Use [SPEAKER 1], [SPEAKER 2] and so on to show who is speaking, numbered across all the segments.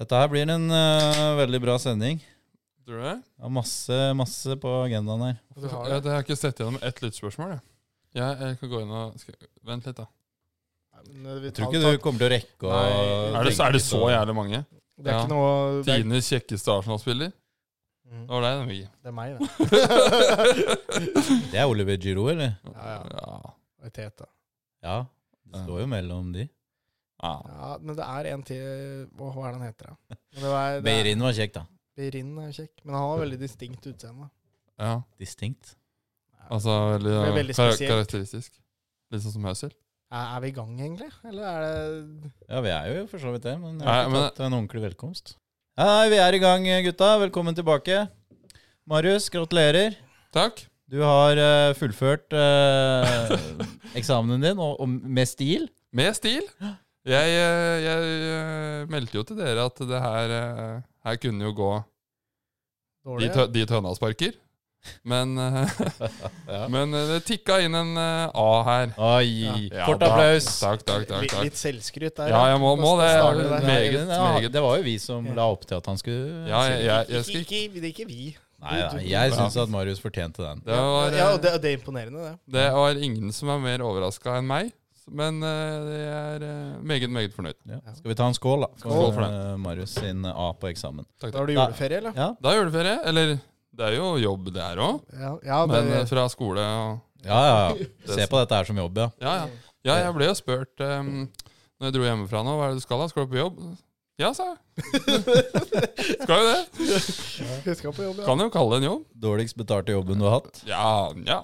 [SPEAKER 1] Dette her blir en eh, veldig bra sending.
[SPEAKER 2] Tror du det?
[SPEAKER 1] Det er masse, masse på agendaen her.
[SPEAKER 2] Jeg har ikke sett gjennom ett lyttspørsmål. Jeg. Jeg, jeg kan gå inn og skal, Vent litt, da.
[SPEAKER 3] eh,
[SPEAKER 1] Jeg tror ikke du kommer til å rekke å
[SPEAKER 2] Er det, er det så jævlig mange?
[SPEAKER 3] Det er
[SPEAKER 2] Ja.
[SPEAKER 3] ikke noe det er,
[SPEAKER 2] Tidenes kjekkeste Arsenal-spiller?
[SPEAKER 3] Mm.
[SPEAKER 2] Det var deg, den vi.
[SPEAKER 3] det er meg, det.
[SPEAKER 1] Det er Oliver Giroud, eller?
[SPEAKER 3] Ja, ja.
[SPEAKER 2] ja.
[SPEAKER 3] Det er Teta.
[SPEAKER 1] Ja. Det står jo mellom de.
[SPEAKER 2] ja.
[SPEAKER 3] Ja, men det er en til Hva hva er det han heter, da? Men Det var, det er,
[SPEAKER 1] Beirin var kjekk, da.
[SPEAKER 3] Beirin er kjekk, men han har veldig distinkt utseende.
[SPEAKER 2] ja.
[SPEAKER 1] Distinkt.
[SPEAKER 2] Altså veldig,
[SPEAKER 3] Det er veldig
[SPEAKER 2] veldig kar
[SPEAKER 3] spesielt.
[SPEAKER 2] karakteristisk. Litt sånn som Høsel.
[SPEAKER 3] Er, er vi i gang, egentlig? Eller er det
[SPEAKER 1] Ja, vi er jo for så vidt det, men vi
[SPEAKER 2] Nei,
[SPEAKER 1] har ikke
[SPEAKER 2] men-
[SPEAKER 1] tatt en ordentlig velkomst. Hei, vi er i gang, gutta. Velkommen tilbake. Marius, gratulerer.
[SPEAKER 2] Takk.
[SPEAKER 1] Du har eh, fullført eh, eksamenen din, og, og med stil.
[SPEAKER 2] Med stil. Jeg, eh, jeg eh, meldte jo til dere at det her eh, Her kunne jo gå de,
[SPEAKER 3] dårlig?
[SPEAKER 2] tø de tønna sparker. Men, eh, men eh, det tikka inn en eh, A her.
[SPEAKER 1] Oi!
[SPEAKER 2] Ja,
[SPEAKER 1] Kort
[SPEAKER 2] da.
[SPEAKER 1] applaus.
[SPEAKER 2] Takk, takk, takk.
[SPEAKER 3] Litt-
[SPEAKER 2] takk.
[SPEAKER 3] Litt selvskryt der.
[SPEAKER 2] Ja, jeg må, må det.
[SPEAKER 3] Starter der.
[SPEAKER 2] Meget,
[SPEAKER 1] Nei, det-
[SPEAKER 2] meget.
[SPEAKER 1] Det var jo vi som la opp til at han skulle
[SPEAKER 2] Ja, jeg, jeg, jeg
[SPEAKER 3] ikke,
[SPEAKER 2] skal
[SPEAKER 3] ikke, det er ikke vi.
[SPEAKER 1] Nei,
[SPEAKER 3] Du- du-
[SPEAKER 1] nei, jeg syns at Marius fortjente den.
[SPEAKER 2] Det var,
[SPEAKER 3] ja,
[SPEAKER 2] eh,
[SPEAKER 3] og det, og det er imponerende, det.
[SPEAKER 2] Det var ingen som er mer overraska enn meg, men eh, jeg er eh, meget, meget fornøyd.
[SPEAKER 1] Ja. Skal vi ta en skål, da?
[SPEAKER 2] Skål for
[SPEAKER 1] eh, Marius sin A på eksamen.
[SPEAKER 2] Takk,
[SPEAKER 3] Da
[SPEAKER 2] takk.
[SPEAKER 3] har du
[SPEAKER 1] Da-
[SPEAKER 3] juleferie, eller?
[SPEAKER 1] Ja,
[SPEAKER 2] Det er juleferie. Eller det er jo jobb, det her òg,
[SPEAKER 3] Ja, ja det,
[SPEAKER 2] men eh, fra skole
[SPEAKER 1] ja,
[SPEAKER 2] og
[SPEAKER 1] ja. ja. Se på dette her som jobb, ja.
[SPEAKER 2] Ja, ja. ja jeg ble jo spurt um, når jeg dro hjemmefra nå, hva er det du skal da? Skal du på jobb? Ja, sa jeg. skal jo det.
[SPEAKER 3] jeg skal på jobb, ja.
[SPEAKER 2] Kan jo kalle det en jobb.
[SPEAKER 1] Dårligst betalte jobben du har hatt.
[SPEAKER 2] Ja, ja.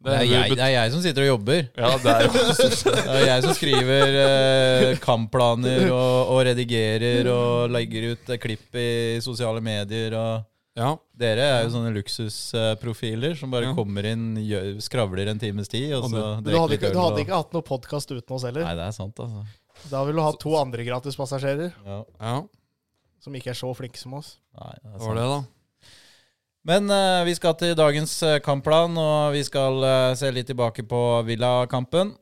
[SPEAKER 1] Det er jeg,
[SPEAKER 2] bet-
[SPEAKER 1] det er jeg som sitter og jobber.
[SPEAKER 2] ja, det er jo
[SPEAKER 1] Det er jeg som skriver eh, kampplaner og, og redigerer og legger ut eh, klipp i sosiale medier. og...
[SPEAKER 2] Ja.
[SPEAKER 1] Dere er jo sånne luksusprofiler som bare
[SPEAKER 2] Ja.
[SPEAKER 1] kommer inn, gjør, skravler en times tid, og
[SPEAKER 2] Og
[SPEAKER 1] så
[SPEAKER 3] Men du hadde,
[SPEAKER 1] litt
[SPEAKER 3] ikke, du
[SPEAKER 1] øl
[SPEAKER 3] hadde
[SPEAKER 1] og-
[SPEAKER 3] ikke hatt noe podkast uten oss heller.
[SPEAKER 1] Nei, det er sant, altså.
[SPEAKER 3] Da ville du hatt to andre gratispassasjerer
[SPEAKER 1] Ja,
[SPEAKER 2] ja,
[SPEAKER 3] som ikke er så flinke som oss.
[SPEAKER 1] nei, det er
[SPEAKER 2] det
[SPEAKER 1] sant.
[SPEAKER 2] var det, da.
[SPEAKER 1] Men eh, vi skal til dagens eh, kampplan, og vi skal eh, se litt tilbake på Villa-kampen.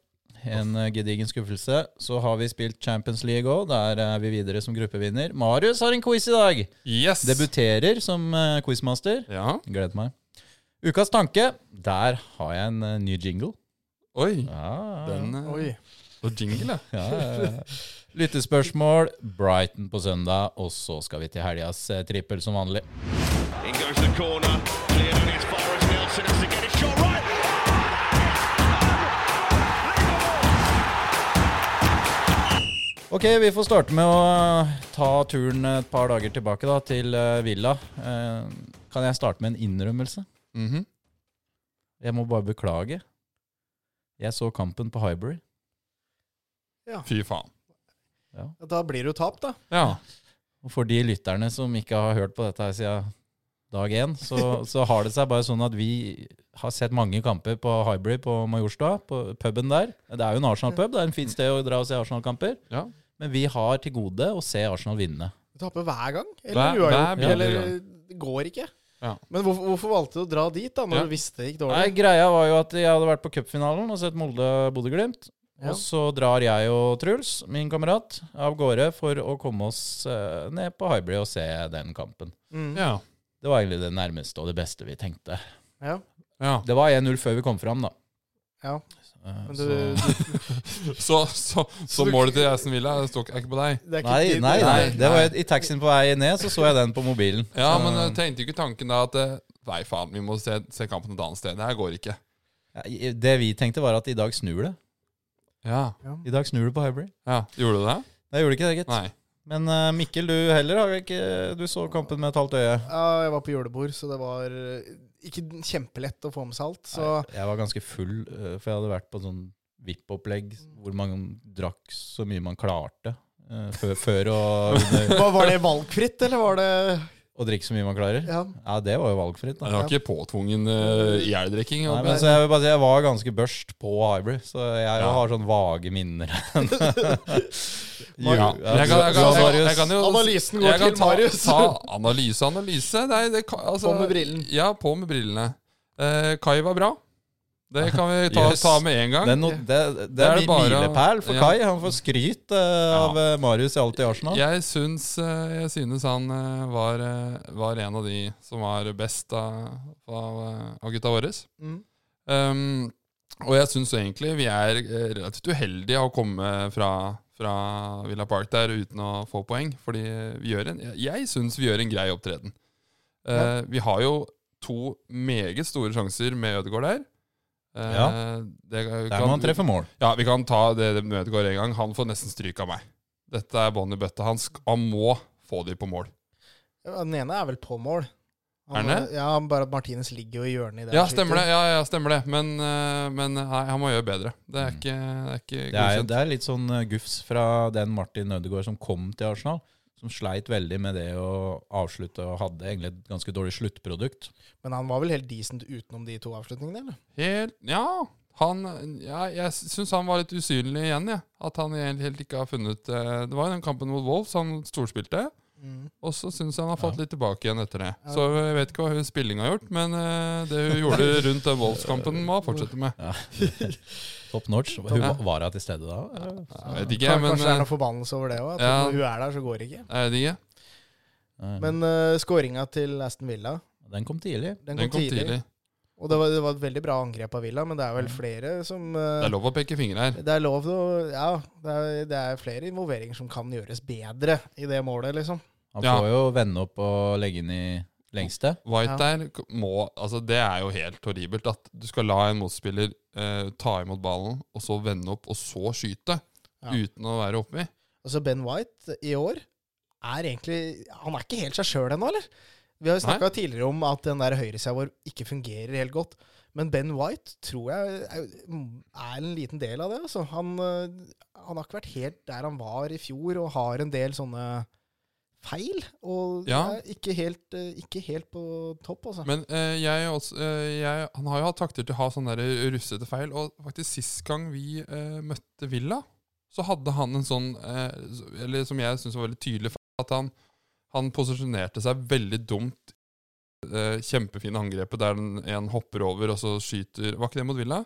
[SPEAKER 1] En eh, gedigen skuffelse. Så har vi spilt Champions League òg. Der er vi videre som gruppevinner. Marius har en quiz i dag!
[SPEAKER 2] Yes!
[SPEAKER 1] Debuterer som eh, quizmaster.
[SPEAKER 2] Ja.
[SPEAKER 1] Gleder meg. Ukas tanke. Der har jeg en eh, ny jingle.
[SPEAKER 2] Oi.
[SPEAKER 1] Ja, ja, ja.
[SPEAKER 2] Den eh,
[SPEAKER 3] Oi.
[SPEAKER 2] Og jingle, ja.
[SPEAKER 1] Ja, ja, ja. Lyttespørsmål, Brighton på søndag, og så skal vi til helgas eh, trippel som vanlig.
[SPEAKER 4] In goes the corner. Cleared on as far as Nelson has to get it shot right.
[SPEAKER 1] Ok, vi får starte med å eh, ta turen et par dager tilbake da, til eh, Villa. Eh, Kan jeg starte med en innrømmelse?
[SPEAKER 2] Mhm.
[SPEAKER 1] Jeg må bare beklage. Jeg så kampen på Hybrid.
[SPEAKER 2] Fy faen.
[SPEAKER 3] Da blir det jo tap, da.
[SPEAKER 2] Ja.
[SPEAKER 1] Og for de lytterne som ikke har hørt på dette her siden dag én, så, så har det seg bare sånn at vi har sett mange kamper på Hybrid på Majorstua, på puben der. Det er jo en Arsenal-pub, det er en fint sted å dra og se Arsenal-kamper.
[SPEAKER 2] ja.
[SPEAKER 1] Men vi har til gode å se Arsenal vinne.
[SPEAKER 3] Du taper hver gang.
[SPEAKER 2] Hver- hver
[SPEAKER 3] Eller uavgjort.
[SPEAKER 2] bidige
[SPEAKER 3] Eller
[SPEAKER 2] gang.
[SPEAKER 3] det går ikke.
[SPEAKER 2] Ja.
[SPEAKER 3] Men hvorfor, hvorfor valgte du å dra dit, da, når
[SPEAKER 2] Ja.
[SPEAKER 3] du visste det gikk
[SPEAKER 1] Nei,
[SPEAKER 3] dårlig?
[SPEAKER 1] greia var jo at jeg hadde vært på cupfinalen og sett Molde-Bodø-Glimt.
[SPEAKER 3] Ja.
[SPEAKER 1] Og så drar jeg og Truls, min kamerat, av gårde for å komme oss eh, ned på Hybrid og se den kampen.
[SPEAKER 3] Mm.
[SPEAKER 2] ja.
[SPEAKER 1] Det var egentlig det nærmeste og det beste vi tenkte.
[SPEAKER 3] Ja.
[SPEAKER 2] ja.
[SPEAKER 1] Det var 1-0 før vi kom fram, da.
[SPEAKER 3] ja.
[SPEAKER 1] Eh,
[SPEAKER 3] Men du,
[SPEAKER 1] så-
[SPEAKER 3] du,
[SPEAKER 2] Så, så, så målet til Aston Villa står ikke- er ikke på deg.
[SPEAKER 3] det er ikke
[SPEAKER 1] Nei,
[SPEAKER 3] tid-
[SPEAKER 1] nei, nei.
[SPEAKER 2] Nei,
[SPEAKER 1] Det var I taxien på vei ned så så jeg den på mobilen.
[SPEAKER 2] Ja,
[SPEAKER 1] Så-
[SPEAKER 2] men jeg tenkte ikke tanken da at eh, Nei, faen, vi må se, se kampen et annet sted. Det her går ikke.
[SPEAKER 1] Ja, i- Det vi tenkte, var at i dag snur det.
[SPEAKER 2] Ja,
[SPEAKER 1] I dag snur det på Hybrid.
[SPEAKER 2] ja. Gjorde du det?
[SPEAKER 1] Det gjorde ikke det, gitt.
[SPEAKER 2] Nei.
[SPEAKER 1] Men eh, Mikkel, du heller har jo ikke Du så kampen med et halvt øye.
[SPEAKER 3] Ja, jeg var på julebord, så det var eh, ikke kjempelett å få med seg alt. Så
[SPEAKER 1] Nei, Jeg var ganske full, eh, for jeg hadde vært på sånn VIP-opplegg hvor man drakk så mye man klarte. eh, Før, før å, under,
[SPEAKER 3] var, var det valgfritt, eller var det
[SPEAKER 1] å drikke så mye man klarer.
[SPEAKER 3] Ja.
[SPEAKER 1] Ja, det var jo valgfritt,
[SPEAKER 2] Det
[SPEAKER 1] da.
[SPEAKER 2] var ikke påtvungen uh, ihjeldrikking.
[SPEAKER 1] Nei,
[SPEAKER 2] og-
[SPEAKER 1] men, så jeg vil bare si jeg var ganske børst på Hybrid, så jeg
[SPEAKER 2] Ja.
[SPEAKER 1] har sånn vage minner.
[SPEAKER 2] Ja. Men Jeg kan, jeg kan, jeg kan, jeg kan jo
[SPEAKER 3] Analysen går
[SPEAKER 2] jeg kan
[SPEAKER 3] til
[SPEAKER 2] ta,
[SPEAKER 3] Marius.
[SPEAKER 2] Ta analyse, analyse. Nei, det kan, altså,
[SPEAKER 3] På med brillen.
[SPEAKER 2] Ja, på med brillene. Eh, Kai var bra. Det kan vi ta,
[SPEAKER 1] Yes.
[SPEAKER 2] ta med en gang.
[SPEAKER 1] Det er, no, det, det,
[SPEAKER 2] er
[SPEAKER 1] er,
[SPEAKER 2] det
[SPEAKER 1] mi-
[SPEAKER 2] bare å-
[SPEAKER 1] milepæl for
[SPEAKER 2] ja.
[SPEAKER 1] Kai. Han får skryt eh, av eh, Marius i alt i Arsenal.
[SPEAKER 2] Jeg syns, eh, jeg synes han eh, var, eh, var en av de som var best av, av, eh, av gutta våre.
[SPEAKER 3] Mm.
[SPEAKER 2] Um, og jeg syns egentlig vi er eh, relativt uheldige av å komme fra, fra Villa Park der uten å få poeng. Fordi vi gjør en, jeg- jeg syns vi gjør en grei opptreden. Eh, Vi har jo to meget store sjanser med Ødegaard der. Eh,
[SPEAKER 1] Ja.
[SPEAKER 2] det kan-
[SPEAKER 1] Der må han treffe mål.
[SPEAKER 2] ja, vi kan ta det det med Ødegaard en gang. Han får nesten stryk av meg. Dette er bånd i bøtta. Han, sk han må få de på mål.
[SPEAKER 3] Ja, Den ene er vel på mål.
[SPEAKER 2] Er den det?
[SPEAKER 3] Ja, bare at Martinez ligger jo i hjørnet i det.
[SPEAKER 2] Ja,
[SPEAKER 3] han
[SPEAKER 2] stemmer det.
[SPEAKER 3] skyter.
[SPEAKER 2] Ja, ja, stemmer det. Men, eh, men nei, han må gjøre bedre. Det
[SPEAKER 3] Mm.
[SPEAKER 2] er ikke, det er ikke
[SPEAKER 1] Det er,
[SPEAKER 2] godkjent.
[SPEAKER 1] det er litt sånn eh, gufs fra den Martin Ødegaard som kom til Arsenal. Som sleit veldig med det å avslutte, og hadde egentlig et ganske dårlig sluttprodukt.
[SPEAKER 3] Men han var vel helt decent utenom de to avslutningene, eller?
[SPEAKER 2] Helt, ja, han, ja, jeg syns han var litt usynlig igjen, jeg. At han egentlig helt ikke har funnet eh, Det var jo den kampen mot Wolves han storspilte.
[SPEAKER 3] Mm.
[SPEAKER 2] Og så syns jeg han har fått
[SPEAKER 1] Ja.
[SPEAKER 2] litt tilbake igjen etter det.
[SPEAKER 3] Ja.
[SPEAKER 2] Så jeg vet ikke hva hun spillinga har gjort, men eh, det hun gjorde rundt den Wolves-kampen, må hun fortsette med.
[SPEAKER 1] Top notch. Hun var, var hun til stede da?
[SPEAKER 2] Jeg vet ikke, men
[SPEAKER 3] Kanskje det er
[SPEAKER 2] eh,
[SPEAKER 3] noe forbannelse over det òg. At
[SPEAKER 2] ja.
[SPEAKER 3] når hun er der, så går det ikke.
[SPEAKER 2] jeg vet ikke.
[SPEAKER 1] Men,
[SPEAKER 3] Men uh, skåringa til Aston Villa,
[SPEAKER 1] den kom tidlig.
[SPEAKER 3] den, kom tidlig. Og det var, det var et veldig bra angrep av Villa, men det er vel flere som eh,
[SPEAKER 2] Det er lov å peke fingre her.
[SPEAKER 3] Det er lov til å Ja, det er, det er flere involveringer som kan gjøres bedre i det målet, liksom.
[SPEAKER 1] Han
[SPEAKER 2] Ja.
[SPEAKER 1] får jo vende opp og legge inn i lengste.
[SPEAKER 2] White
[SPEAKER 3] Ja.
[SPEAKER 2] der k- må Altså, det er jo helt horribelt at du skal la en motspiller eh, ta imot ballen, og så vende opp, og så skyte.
[SPEAKER 3] Ja.
[SPEAKER 2] Uten å være oppi.
[SPEAKER 3] Altså, Ben White i år er egentlig Han er ikke helt seg sjøl ennå, eller? Vi har jo snakka tidligere om at den der høyresida vår ikke fungerer helt godt. Men Ben White tror jeg er er en liten del av det. Altså. Han, eh, han har ikke vært helt der han var i fjor, og har en del sånne feil. Og
[SPEAKER 2] Ja.
[SPEAKER 3] er ikke helt, eh, ikke helt på topp, altså.
[SPEAKER 2] Men eh, jeg, er også, eh, jeg, han har jo hatt takter til å ha sånne der russete feil. Og faktisk sist gang vi eh, møtte Villa, så hadde han en sånn eh, s- Eller som jeg syns var veldig tydelig feil, at han, han posisjonerte seg veldig dumt. Eh, kjempefine angrepet der den, en hopper over, og så skyter Var ikke det mot Villa?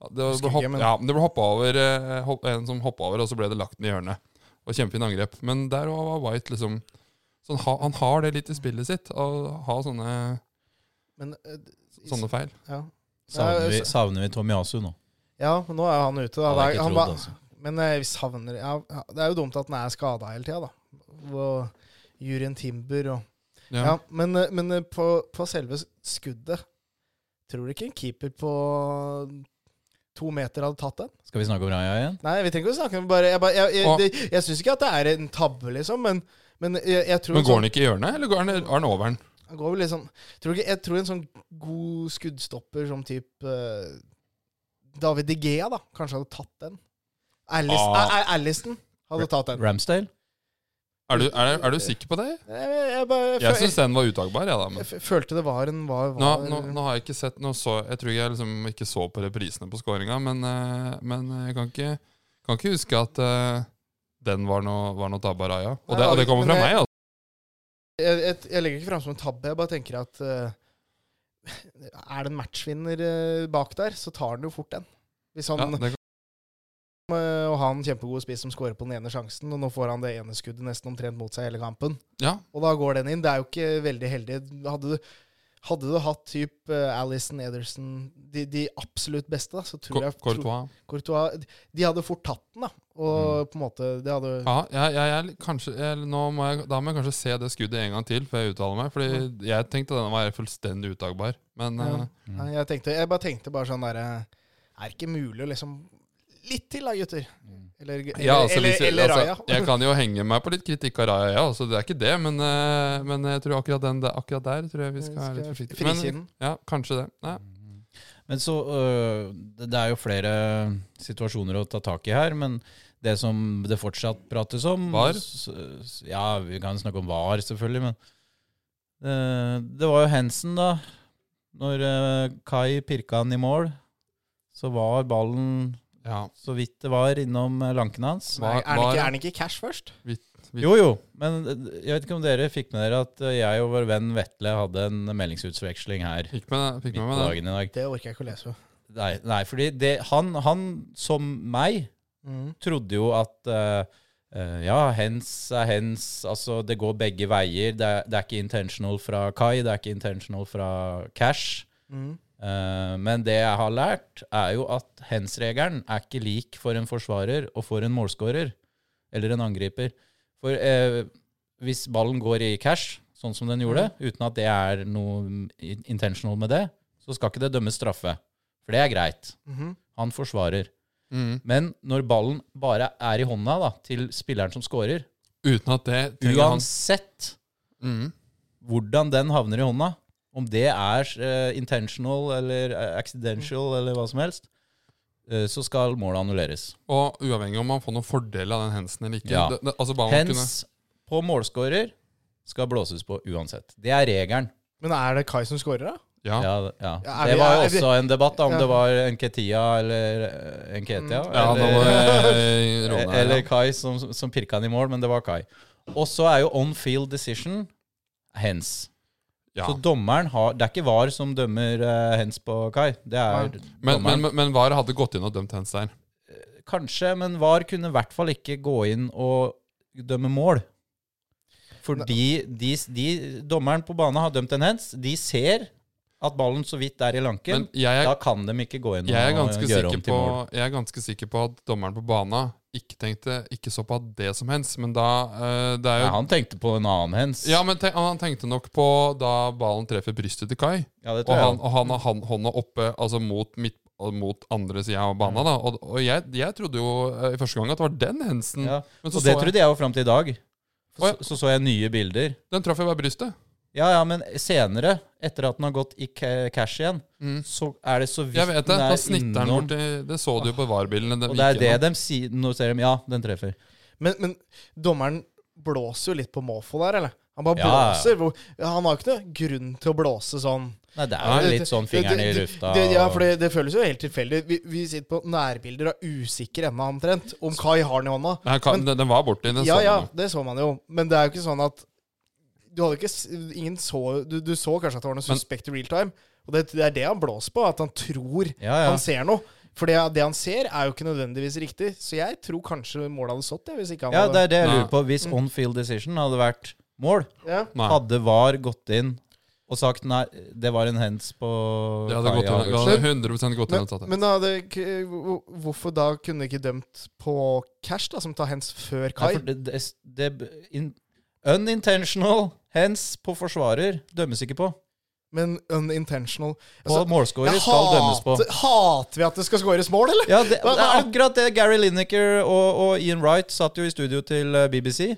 [SPEAKER 2] Ja, Det, ble
[SPEAKER 3] Husker ikke,
[SPEAKER 2] hopp,
[SPEAKER 3] men-
[SPEAKER 2] ja, men det ble hoppa over eh, hopp, en som hoppa over, og så ble det lagt ned i hjørnet. Og kjempefine angrep. Men der var White liksom så han, har- han har det litt i spillet sitt, å ha sånne
[SPEAKER 3] Men, eh, i-
[SPEAKER 2] Sånne feil.
[SPEAKER 3] ja.
[SPEAKER 1] Savner vi,
[SPEAKER 3] Ja,
[SPEAKER 1] savner vi Tomiyasu nå?
[SPEAKER 3] ja, men nå er jo han ute. Da.
[SPEAKER 1] Hadde
[SPEAKER 3] Det
[SPEAKER 1] jeg
[SPEAKER 3] er-
[SPEAKER 1] ikke
[SPEAKER 3] han
[SPEAKER 1] trodd,
[SPEAKER 3] ba-
[SPEAKER 1] altså.
[SPEAKER 3] Men eh, vi savner ja, ja, Det er jo dumt at den er skada hele tida, da. Og Jurien Timber og Ja,
[SPEAKER 2] Ja.
[SPEAKER 3] men, eh, men eh, på, på selve skuddet Tror du ikke en keeper på to meter hadde tatt den?
[SPEAKER 1] Skal vi snakke om Raja igjen?
[SPEAKER 3] Nei, vi trenger ikke å snakke om bare Jeg, bare- jeg, jeg,
[SPEAKER 2] Og-
[SPEAKER 3] det- jeg syns ikke at det er en tabbe, liksom, men, men jeg, jeg tror sånn-
[SPEAKER 2] Men går han ikke i hjørnet, eller går han, er han over den?
[SPEAKER 3] Han går vel litt sånn tror du ikke, Jeg tror en sånn god skuddstopper som typ eh, David De Gea, da, kanskje hadde tatt den. Allison,
[SPEAKER 2] Ah.
[SPEAKER 3] Allison hadde tatt den.
[SPEAKER 1] Ramsdale?
[SPEAKER 2] Er du, er, er du sikker på det?
[SPEAKER 3] Jeg, jeg, jeg, bare, Eh, jeg,
[SPEAKER 2] Jeg
[SPEAKER 3] føl-
[SPEAKER 2] syns den var utagbar. Ja, da,
[SPEAKER 3] jeg
[SPEAKER 2] men.
[SPEAKER 3] f- følte det var en var,
[SPEAKER 2] Nå,
[SPEAKER 3] var
[SPEAKER 2] nå, nå har jeg ikke sett nå så, Jeg tror jeg liksom ikke så på reprisene på scoringa, men, eh, men jeg kan ikke, kan ikke huske at eh, den var noe, var noe tabba raja. Og det, og det kommer fra meg, altså.
[SPEAKER 3] jeg, jeg, jeg legger ikke fram som en tabbe, jeg bare tenker at eh, Er det en matchvinner eh, bak der, så tar han jo fort den. Hvis han
[SPEAKER 2] Ja, det, kan-
[SPEAKER 3] eh, og har en kjempegod spiss som scorer på den ene sjansen, og nå får han det ene skuddet nesten omtrent mot seg hele kampen.
[SPEAKER 2] ja,
[SPEAKER 3] Og da går den inn. Det er jo ikke veldig heldig. Hadde du, hadde du hatt typ eh, Alison, Ederson De, de absolutt beste, da, så tror
[SPEAKER 2] Cor-
[SPEAKER 3] jeg tror-
[SPEAKER 2] Courtois. Mm.
[SPEAKER 3] Courtois de, hadde fort tatt den, da. Og på en måte Det hadde
[SPEAKER 2] Ja, jeg, jeg, er litt- kanskje, jeg, nå må jeg, da må jeg kanskje se det skuddet en gang til før jeg uttaler meg. Fordi jeg tenkte den var fullstendig utagbar. Men
[SPEAKER 3] Ja.
[SPEAKER 2] eh,
[SPEAKER 3] Nei, jeg, tenkte, jeg bare tenkte bare sånn derre Er ikke mulig å liksom Litt til, da, gutter. Eller, eller,
[SPEAKER 2] Ja, altså,
[SPEAKER 3] eller,
[SPEAKER 2] hvis,
[SPEAKER 3] eller Raja.
[SPEAKER 2] altså, jeg kan jo henge meg på litt kritikk av Raja, ja, altså, det er ikke det. Men, eh, men jeg tror akkurat, den, der- akkurat der tror jeg vi skal være litt
[SPEAKER 3] Skal
[SPEAKER 2] forsiktige.
[SPEAKER 3] frikjenne
[SPEAKER 2] Men,
[SPEAKER 3] den.
[SPEAKER 2] ja, kanskje det. Nei.
[SPEAKER 1] Men så, øh, det det er jo flere situasjoner å ta tak i her, men det som det fortsatt prates om
[SPEAKER 2] Var?
[SPEAKER 1] s- s- Ja, vi kan snakke om var, selvfølgelig, men øh, Det var jo Hansen, da. Når øh, Kai pirka han i mål, så var ballen
[SPEAKER 2] Ja,
[SPEAKER 1] så vidt det var innom øh, lanken hans.
[SPEAKER 3] Nei, er, den
[SPEAKER 2] Var-
[SPEAKER 3] ikke, er den ikke i cash først?
[SPEAKER 2] Vi-
[SPEAKER 1] Jo, jo, men øh, jeg vet ikke om dere fikk med dere at øh, jeg og vår venn Vetle hadde en meldingsutveksling her
[SPEAKER 2] fikk med, fikk
[SPEAKER 1] midt
[SPEAKER 2] med
[SPEAKER 1] på
[SPEAKER 2] meg den.
[SPEAKER 1] dagen i dag.
[SPEAKER 3] Det orker jeg ikke å lese.
[SPEAKER 1] Nei, nei fordi det, han, han, som meg,
[SPEAKER 3] Mm.
[SPEAKER 1] trodde jo at eh, eh, ja, hens er hens, altså det går begge veier. Det er, det er ikke intentional fra Kai, det er ikke intentional fra Cash.
[SPEAKER 3] Mm.
[SPEAKER 1] Eh, men det jeg har lært, er jo at hens-regelen er ikke lik for en forsvarer og for en målskårer eller en angriper. For eh, hvis ballen går i cash, sånn som
[SPEAKER 3] Mm.
[SPEAKER 1] den gjorde, uten at det er noe in- intentional med det, så skal ikke det dømmes straffe. For det er greit.
[SPEAKER 3] Mhm.
[SPEAKER 1] Han forsvarer.
[SPEAKER 2] Mm.
[SPEAKER 1] Men når ballen bare er i hånda da, til spilleren som scorer,
[SPEAKER 2] Uten at det trenger han.
[SPEAKER 1] uansett
[SPEAKER 2] Mm.
[SPEAKER 1] hvordan den havner i hånda, om det er eh, intentional eller eh, accidental eller hva som helst, eh, så skal målet annulleres.
[SPEAKER 2] Og uavhengig om man får noen fordel av den hensen eller ikke.
[SPEAKER 1] Ja.
[SPEAKER 2] Det, det, altså bare man kunne,
[SPEAKER 1] Hens på målscorer skal blåses på uansett. Det er regelen.
[SPEAKER 3] Men er det Kai som scorer, da?
[SPEAKER 2] ja.
[SPEAKER 1] Ja, ja.
[SPEAKER 3] Ja, er
[SPEAKER 1] Det
[SPEAKER 3] vi-
[SPEAKER 1] var jo
[SPEAKER 3] er vi-
[SPEAKER 1] også en debatt da, om
[SPEAKER 3] Ja.
[SPEAKER 1] det var Nketia eller eh, Nketia.
[SPEAKER 2] Ja, da
[SPEAKER 1] eller-
[SPEAKER 2] var det
[SPEAKER 1] Eh,
[SPEAKER 2] Råne her,
[SPEAKER 1] Eller
[SPEAKER 2] ja.
[SPEAKER 1] Kai som, som pirka han i mål, men det var Kai. Og så er jo on field decision hens.
[SPEAKER 2] Ja.
[SPEAKER 1] Så dommeren har Det er ikke VAR som dømmer eh, hens på Kai. Det er
[SPEAKER 3] Nei.
[SPEAKER 2] Men,
[SPEAKER 1] dommeren.
[SPEAKER 2] men, men, men VAR hadde gått inn og dømt hens der.
[SPEAKER 1] Kanskje, men VAR kunne i hvert fall ikke gå inn og dømme mål. Fordi de, de, dommeren på banen har dømt en hens. De ser at ballen så vidt er i lanken.
[SPEAKER 2] Men jeg
[SPEAKER 1] da
[SPEAKER 2] er,
[SPEAKER 1] kan de ikke gå inn
[SPEAKER 2] jeg, er
[SPEAKER 1] og
[SPEAKER 2] ganske
[SPEAKER 1] gjøre
[SPEAKER 2] sikker
[SPEAKER 1] om til
[SPEAKER 2] på,
[SPEAKER 1] mål.
[SPEAKER 2] jeg er ganske sikker på at dommeren på bana ikke tenkte ikke så på det som hens, men da eh, det er
[SPEAKER 1] Ja,
[SPEAKER 2] jo
[SPEAKER 1] han tenkte på en annen hens.
[SPEAKER 2] Ja, men tenk, han tenkte nok på da ballen treffer brystet til Kai.
[SPEAKER 1] Ja, det
[SPEAKER 2] Og
[SPEAKER 1] tror jeg.
[SPEAKER 2] han, og han har han, hånda oppe altså mot, midt, mot andre sida av banen. Da. Og, og jeg, jeg trodde jo eh, i første gang at det var den hensen.
[SPEAKER 1] Ja.
[SPEAKER 2] Men så
[SPEAKER 1] Og det
[SPEAKER 2] så jeg,
[SPEAKER 1] trodde jeg jo fram til i dag.
[SPEAKER 2] Å,
[SPEAKER 1] Så,
[SPEAKER 2] ja.
[SPEAKER 1] så så jeg nye bilder.
[SPEAKER 2] den traff jo bare brystet.
[SPEAKER 1] Ja, ja, men senere, etter at den har gått i ca- cash igjen,
[SPEAKER 2] Mm.
[SPEAKER 1] så er det så vidt
[SPEAKER 2] Jeg vet det.
[SPEAKER 1] den
[SPEAKER 2] Da
[SPEAKER 1] er
[SPEAKER 2] snitter han
[SPEAKER 1] innom.
[SPEAKER 2] borti Det så du jo på VAR-bilene. den
[SPEAKER 1] Og det er
[SPEAKER 2] gikk
[SPEAKER 1] det
[SPEAKER 2] gjennom.
[SPEAKER 1] de sier. Nå ser de ja, den treffer.
[SPEAKER 3] Men, men dommeren blåser jo litt på måfå der, eller? Han bare
[SPEAKER 1] Ja, ja.
[SPEAKER 3] blåser. Hvor- Ja, han har jo ikke noe grunn til å blåse sånn.
[SPEAKER 1] Nei, det er jo
[SPEAKER 3] Det-
[SPEAKER 1] litt sånn
[SPEAKER 3] det-
[SPEAKER 1] fingeren i
[SPEAKER 3] det-
[SPEAKER 1] lufta.
[SPEAKER 3] Det, ja,
[SPEAKER 1] og-
[SPEAKER 3] for det, det føles jo helt tilfeldig. Vi, vi sitter på nærbilder av usikker ende, omtrent, om Kai har den i hånda.
[SPEAKER 2] Nei, Kai- den, den var borti. Den
[SPEAKER 3] Ja,
[SPEAKER 2] så
[SPEAKER 3] ja,
[SPEAKER 2] man jo.
[SPEAKER 3] det så man jo. Men det er jo ikke sånn at Du hadde ikke s- Ingen så Du, du så kanskje at det var noe
[SPEAKER 2] Men-
[SPEAKER 3] suspekt i real time. Og det, det er det han blåser på, at han tror
[SPEAKER 1] ja, ja.
[SPEAKER 3] han ser noe. For det, det han ser, er jo ikke nødvendigvis riktig. Så jeg tror kanskje målet hadde stått, jeg, hvis ikke han
[SPEAKER 1] ja, det
[SPEAKER 3] hadde
[SPEAKER 1] er det jeg lurer
[SPEAKER 2] Nei. Mm.
[SPEAKER 1] på. Hvis on field decision hadde vært mål,
[SPEAKER 3] ja.
[SPEAKER 2] Nei.
[SPEAKER 1] hadde VAR gått inn og sagt nei, det var en hands på
[SPEAKER 2] Det hadde
[SPEAKER 1] Kai
[SPEAKER 2] gått inn, det
[SPEAKER 1] Havertz.
[SPEAKER 2] hadde 100 gått inn og tatt
[SPEAKER 3] Men,
[SPEAKER 2] det.
[SPEAKER 3] men da hadde, k- hvor- hvorfor da kunne de ikke dømt på cash, da, som tar hands før
[SPEAKER 1] Nei,
[SPEAKER 3] Kai?
[SPEAKER 1] for det, det, det, in, unintentional hands på forsvarer dømmes ikke på.
[SPEAKER 3] Men unintentional
[SPEAKER 1] På
[SPEAKER 3] Altså,
[SPEAKER 1] målscorer
[SPEAKER 3] jeg
[SPEAKER 1] skal dømmes på.
[SPEAKER 3] hater- Hater vi at det skal skåres mål, eller?
[SPEAKER 1] Ja, det,
[SPEAKER 3] Hva- hva
[SPEAKER 1] det er
[SPEAKER 3] er det-
[SPEAKER 1] akkurat det Gary Lineker og, og Ian Wright satt jo i studio til eh, BBC.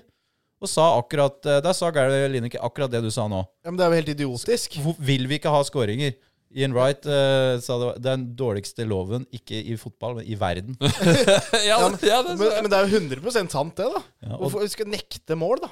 [SPEAKER 1] Og sa akkurat, eh, Der sa Gary Lineker akkurat det du sa nå.
[SPEAKER 3] Ja, men det er jo helt idiotisk.
[SPEAKER 1] Hvor- Vil vi ikke ha skåringer? Ian Wright eh, sa det var den dårligste loven, ikke i fotball, men i verden.
[SPEAKER 2] ja,
[SPEAKER 3] Ja, men,
[SPEAKER 2] ja, det,
[SPEAKER 3] men, men det er jo 100 sant, det, da.
[SPEAKER 1] Ja, og,
[SPEAKER 3] Hvorfor vi skal nekte mål, da?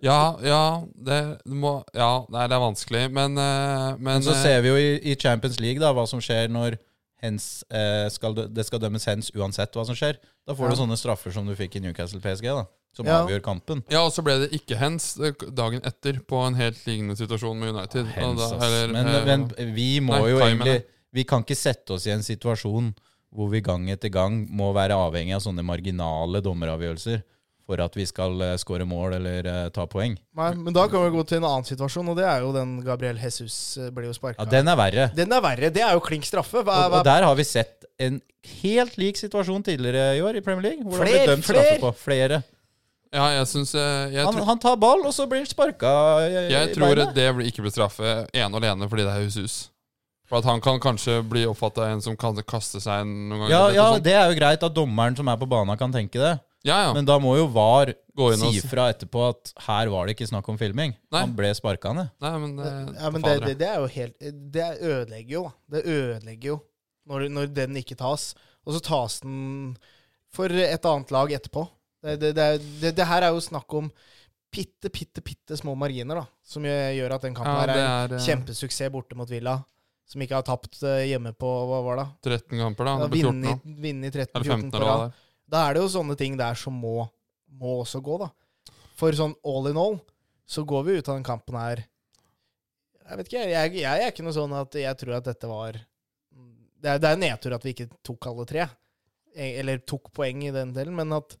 [SPEAKER 2] ja, ja, det må Ja, nei, det er vanskelig, men eh, Men,
[SPEAKER 1] men så
[SPEAKER 2] eh,
[SPEAKER 1] ser vi jo i, i Champions League da, hva som skjer når hens, eh, skal, dø- det skal dømmes hens uansett hva som skjer. Da får du
[SPEAKER 3] Ja.
[SPEAKER 1] sånne straffer som du fikk i Newcastle PSG, da, som
[SPEAKER 3] Ja.
[SPEAKER 1] avgjør kampen.
[SPEAKER 2] Ja, og så ble det ikke hens eh, dagen etter på en helt lignende situasjon med United.
[SPEAKER 1] Hens,
[SPEAKER 2] Og da-
[SPEAKER 1] ass.
[SPEAKER 2] eller,
[SPEAKER 1] men,
[SPEAKER 2] eh,
[SPEAKER 1] men vi må
[SPEAKER 2] Nei,
[SPEAKER 1] jo
[SPEAKER 2] Kai,
[SPEAKER 1] egentlig
[SPEAKER 2] mener jeg.
[SPEAKER 1] Vi kan ikke sette oss i en situasjon hvor vi gang etter gang må være avhengig av sånne marginale dommeravgjørelser for at vi skal uh, skåre mål eller eh, ta poeng.
[SPEAKER 3] Nei, men da kan vi gå til en annen situasjon, og det er jo den Gabriel Jesus eh, ble jo sparka.
[SPEAKER 1] Ja, Den er verre.
[SPEAKER 3] Den er verre. Det er jo klink straffe. Hva,
[SPEAKER 1] Og,
[SPEAKER 3] hva,
[SPEAKER 1] og der har vi sett en helt lik situasjon tidligere i år i Premier League. Hvor det har
[SPEAKER 3] Fler,
[SPEAKER 1] blitt dømt
[SPEAKER 3] fler!
[SPEAKER 1] straffe på flere.
[SPEAKER 2] ja, jeg syns eh, Jeg,
[SPEAKER 1] Han,
[SPEAKER 2] tror-
[SPEAKER 1] han tar ball, og så blir han sparka i,
[SPEAKER 2] jeg
[SPEAKER 1] i
[SPEAKER 2] tror
[SPEAKER 1] beinet.
[SPEAKER 2] det blir- ikke blir straffe ene og alene fordi det er Hushus. For at han kan kanskje bli oppfatta en som kan kaste seg noen ganger.
[SPEAKER 1] Ja,
[SPEAKER 2] eller noe
[SPEAKER 1] ja,
[SPEAKER 2] sånt.
[SPEAKER 1] det er jo greit at dommeren som er på banen, kan tenke det.
[SPEAKER 2] ja, ja.
[SPEAKER 1] Men da må jo VAR
[SPEAKER 2] Gå inn og
[SPEAKER 1] si
[SPEAKER 2] si-
[SPEAKER 1] fra etterpå at her var det ikke snakk om filming.
[SPEAKER 2] Nei.
[SPEAKER 1] Han ble sparka ned.
[SPEAKER 2] Nei, men, eh,
[SPEAKER 3] ja, men det,
[SPEAKER 2] fader,
[SPEAKER 3] det, det er jo helt Det ødelegger jo, da. Det ødelegger jo når, når den ikke tas. Og så tas den for et annet lag etterpå. Det, det, det, er- det, det her er jo snakk om bitte, bitte, bitte små marginer, da. Som gjør gjør at den kampen
[SPEAKER 2] ja,
[SPEAKER 3] her
[SPEAKER 2] det
[SPEAKER 3] er
[SPEAKER 2] er eh,
[SPEAKER 3] kjempesuksess borte mot Villa. Som ikke har tapt eh, hjemme på Hva var det?
[SPEAKER 2] 13 kamper, da.
[SPEAKER 3] Ja,
[SPEAKER 2] Eller på 14 nå.
[SPEAKER 3] Vunnet vunnet
[SPEAKER 2] Eller
[SPEAKER 3] 13-14
[SPEAKER 2] 15
[SPEAKER 3] på
[SPEAKER 2] eller
[SPEAKER 3] rad.
[SPEAKER 2] hva det er.
[SPEAKER 3] Da er det jo sånne ting der som må, må også gå, da. For sånn all in all, så går vi ut av den kampen her Jeg vet ikke, jeg, jeg, jeg er ikke noe sånn at jeg tror at dette var Det er, det er nedtur at vi ikke tok alle tre, Eh, eller tok poeng i den delen, men at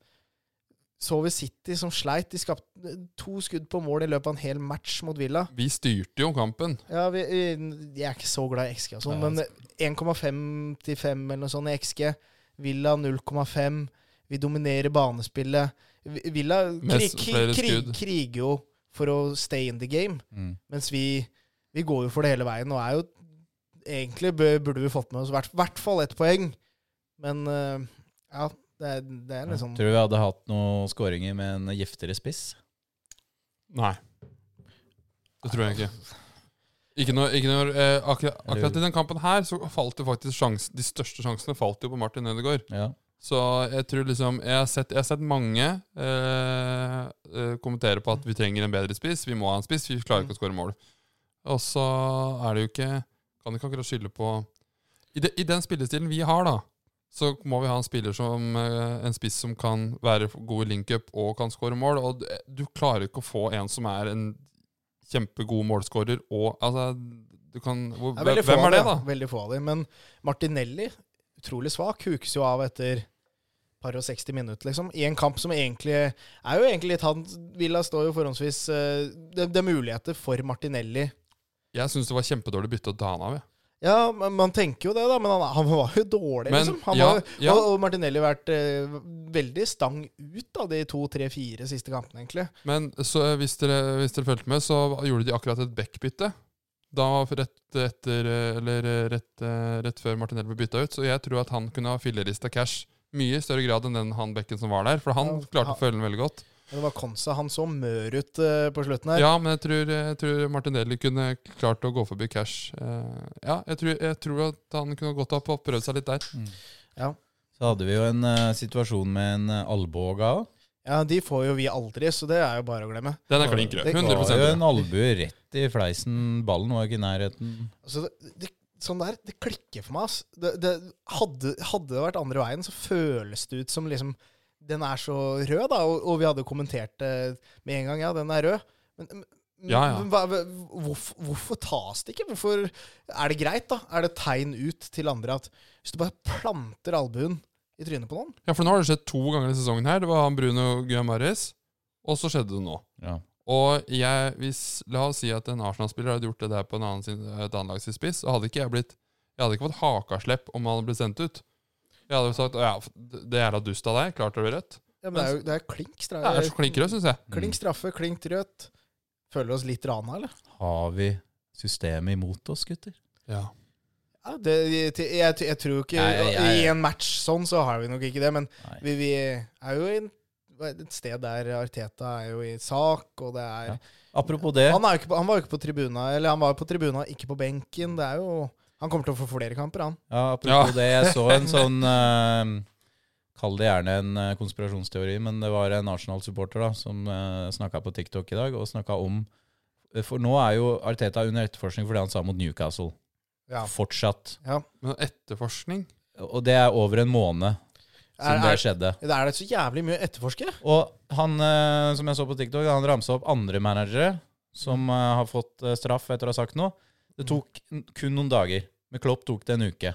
[SPEAKER 3] så vi City som sleit. De skapte to skudd på mål i løpet av en hel match mot Villa.
[SPEAKER 2] Vi styrte jo kampen.
[SPEAKER 3] Ja, vi, vi- jeg er ikke så glad i XG og sånn,
[SPEAKER 1] Nei,
[SPEAKER 3] men 1,55 eller noe sånt i XG. Villa 0,5. Vi dominerer banespillet. Vi- Villa krig,
[SPEAKER 2] Mest- flere
[SPEAKER 3] krig, krig,
[SPEAKER 2] skudd.
[SPEAKER 3] kriger jo for å stay in the game,
[SPEAKER 1] Mm.
[SPEAKER 3] mens vi, vi går jo for det hele veien og er jo Egentlig bø- burde vi fått med oss i hvert, hvert fall ett poeng, men eh, ja, det er, det er liksom
[SPEAKER 1] Tror du vi hadde hatt noen skåringer med en giftere spiss?
[SPEAKER 2] Nei. Det tror jeg ikke. Ikke når, ikke når eh, akkurat, akkurat i den kampen her så falt jo faktisk sjans, de største sjansene falt jo på Martin Ødegaard.
[SPEAKER 1] Ja.
[SPEAKER 2] Så jeg tror liksom Jeg har sett, jeg har sett mange eh, eh, kommentere på at vi trenger en bedre spiss, vi må ha en spiss, vi klarer ikke å skåre mål. Og så er det jo ikke Kan ikke akkurat skylde på I, de, I den spillestilen vi har, da, så må vi ha en spiller som eh, En spiss som kan være god i link-up og kan skåre mål. Og du, du klarer ikke å få en som er en kjempegod målskårer og Altså, du kan hvor,
[SPEAKER 3] Det er veldig få
[SPEAKER 2] Hvem
[SPEAKER 3] av
[SPEAKER 2] er det,
[SPEAKER 3] de,
[SPEAKER 2] da?
[SPEAKER 3] ja. Veldig få av dem. Men Martinelli, utrolig svak, hukes jo av etter par og 60 minutter, liksom. I en kamp som egentlig er jo egentlig litt han Villa står jo forhåndsvis eh, det, det er muligheter for Martinelli.
[SPEAKER 2] Jeg syns det var kjempedårlig bytte å ta han av. jeg.
[SPEAKER 3] Ja, man, man tenker jo det, da, men han, han var jo dårlig,
[SPEAKER 2] Men,
[SPEAKER 3] liksom. Han
[SPEAKER 2] ja,
[SPEAKER 3] var,
[SPEAKER 2] ja.
[SPEAKER 3] Og, og Martinelli har vært eh, veldig stang ut da, de to, tre, fire siste kampene, egentlig.
[SPEAKER 2] Men så eh, hvis dere, hvis dere fulgte med, så gjorde de akkurat et backbytte. Da var for rett, etter, eh, eller eh, rett, eh, rett før Martinelli ble bytta ut. Så jeg tror at han kunne ha fillerista cash mye i større grad enn den han bekken som var der. For han
[SPEAKER 3] Ja,
[SPEAKER 2] klarte
[SPEAKER 3] han-
[SPEAKER 2] å følge den veldig godt.
[SPEAKER 3] Men Det var Konsa. Han så mør ut eh, på slutten her.
[SPEAKER 2] Ja, men jeg tror, jeg tror Martinelli kunne klart å gå forbi cash. Eh, Ja, jeg tror, jeg tror at han kunne gått opp og prøvd seg litt der.
[SPEAKER 1] Så hadde vi jo en eh, situasjon med en uh, albue òg.
[SPEAKER 3] Ja, De får jo vi aldri, så det er jo bare å glemme.
[SPEAKER 2] Den er klin grønn.
[SPEAKER 3] Det var
[SPEAKER 1] Det var jo
[SPEAKER 2] 100
[SPEAKER 1] en albue rett i fleisen. Ballen var ikke i nærheten.
[SPEAKER 3] Altså, det, det, sånn der, det klikker for meg, ass. Det, det, hadde, hadde det vært andre veien, så føles det ut som liksom Den er så rød, da. Og, og vi hadde kommentert det med en gang. Ja, den er rød. Men, men-
[SPEAKER 2] Ja, ja.
[SPEAKER 3] men hva- hva- hvorfor, hvorfor tas det ikke? Hvorfor Er det greit, da? Er det tegn ut til andre at hvis du bare planter albuen i trynet på noen
[SPEAKER 2] Ja, for nå har det skjedd to ganger i sesongen her. Det var han Bruno Guiamares, og så skjedde det nå.
[SPEAKER 1] Ja.
[SPEAKER 2] Og jeg, hvis, la oss si at en Arsenal-spiller hadde gjort det der på en annen sin, et annet lag sin spiss, så hadde ikke jeg blitt Jeg hadde ikke fått hakaslepp om han hadde blitt sendt ut. Jeg hadde jo sagt ja, det er da dust av deg, klart det blir rødt.
[SPEAKER 3] ja, men det, er jo, det er klink, stra
[SPEAKER 2] Det er så klinkere, syns jeg.
[SPEAKER 3] klink straffe, klink rødt. Føler du oss litt rana, eller?
[SPEAKER 1] Har vi systemet imot oss, gutter?
[SPEAKER 2] Ja.
[SPEAKER 3] Ja, det, jeg, jeg, jeg tror jo ikke
[SPEAKER 1] Nei, jeg- jeg-
[SPEAKER 3] I en match sånn så har vi nok ikke det, men
[SPEAKER 1] Nei.
[SPEAKER 3] vi, vi er jo i en- et sted der Arteta er jo i sak, og det er
[SPEAKER 1] Ja. Apropos det.
[SPEAKER 3] han, er jo ikke på, han var jo ikke på tribuna, eller han var jo på tribuna, ikke på benken. Det er jo Han kommer til å få flere kamper, han.
[SPEAKER 1] Ja, apropos det. Jeg så en sånn eh, Kall det gjerne en eh, konspirasjonsteori, men det var en Arsenal-supporter da, som uh, snakka på TikTok i dag og snakka om eh, For nå er jo Arteta under etterforskning for det han sa mot Newcastle.
[SPEAKER 3] Ja.
[SPEAKER 1] Fortsatt.
[SPEAKER 2] Men etterforskning
[SPEAKER 1] Og det er over en måned
[SPEAKER 3] Er,
[SPEAKER 1] siden det
[SPEAKER 3] er,
[SPEAKER 1] skjedde.
[SPEAKER 3] det er det så jævlig mye å etterforske?
[SPEAKER 1] Og han eh, som jeg så på TikTok, han ramsa opp andre managere som eh, har fått eh, straff etter å ha sagt noe. Det tok n- kun noen dager. Med Klopp tok det en uke.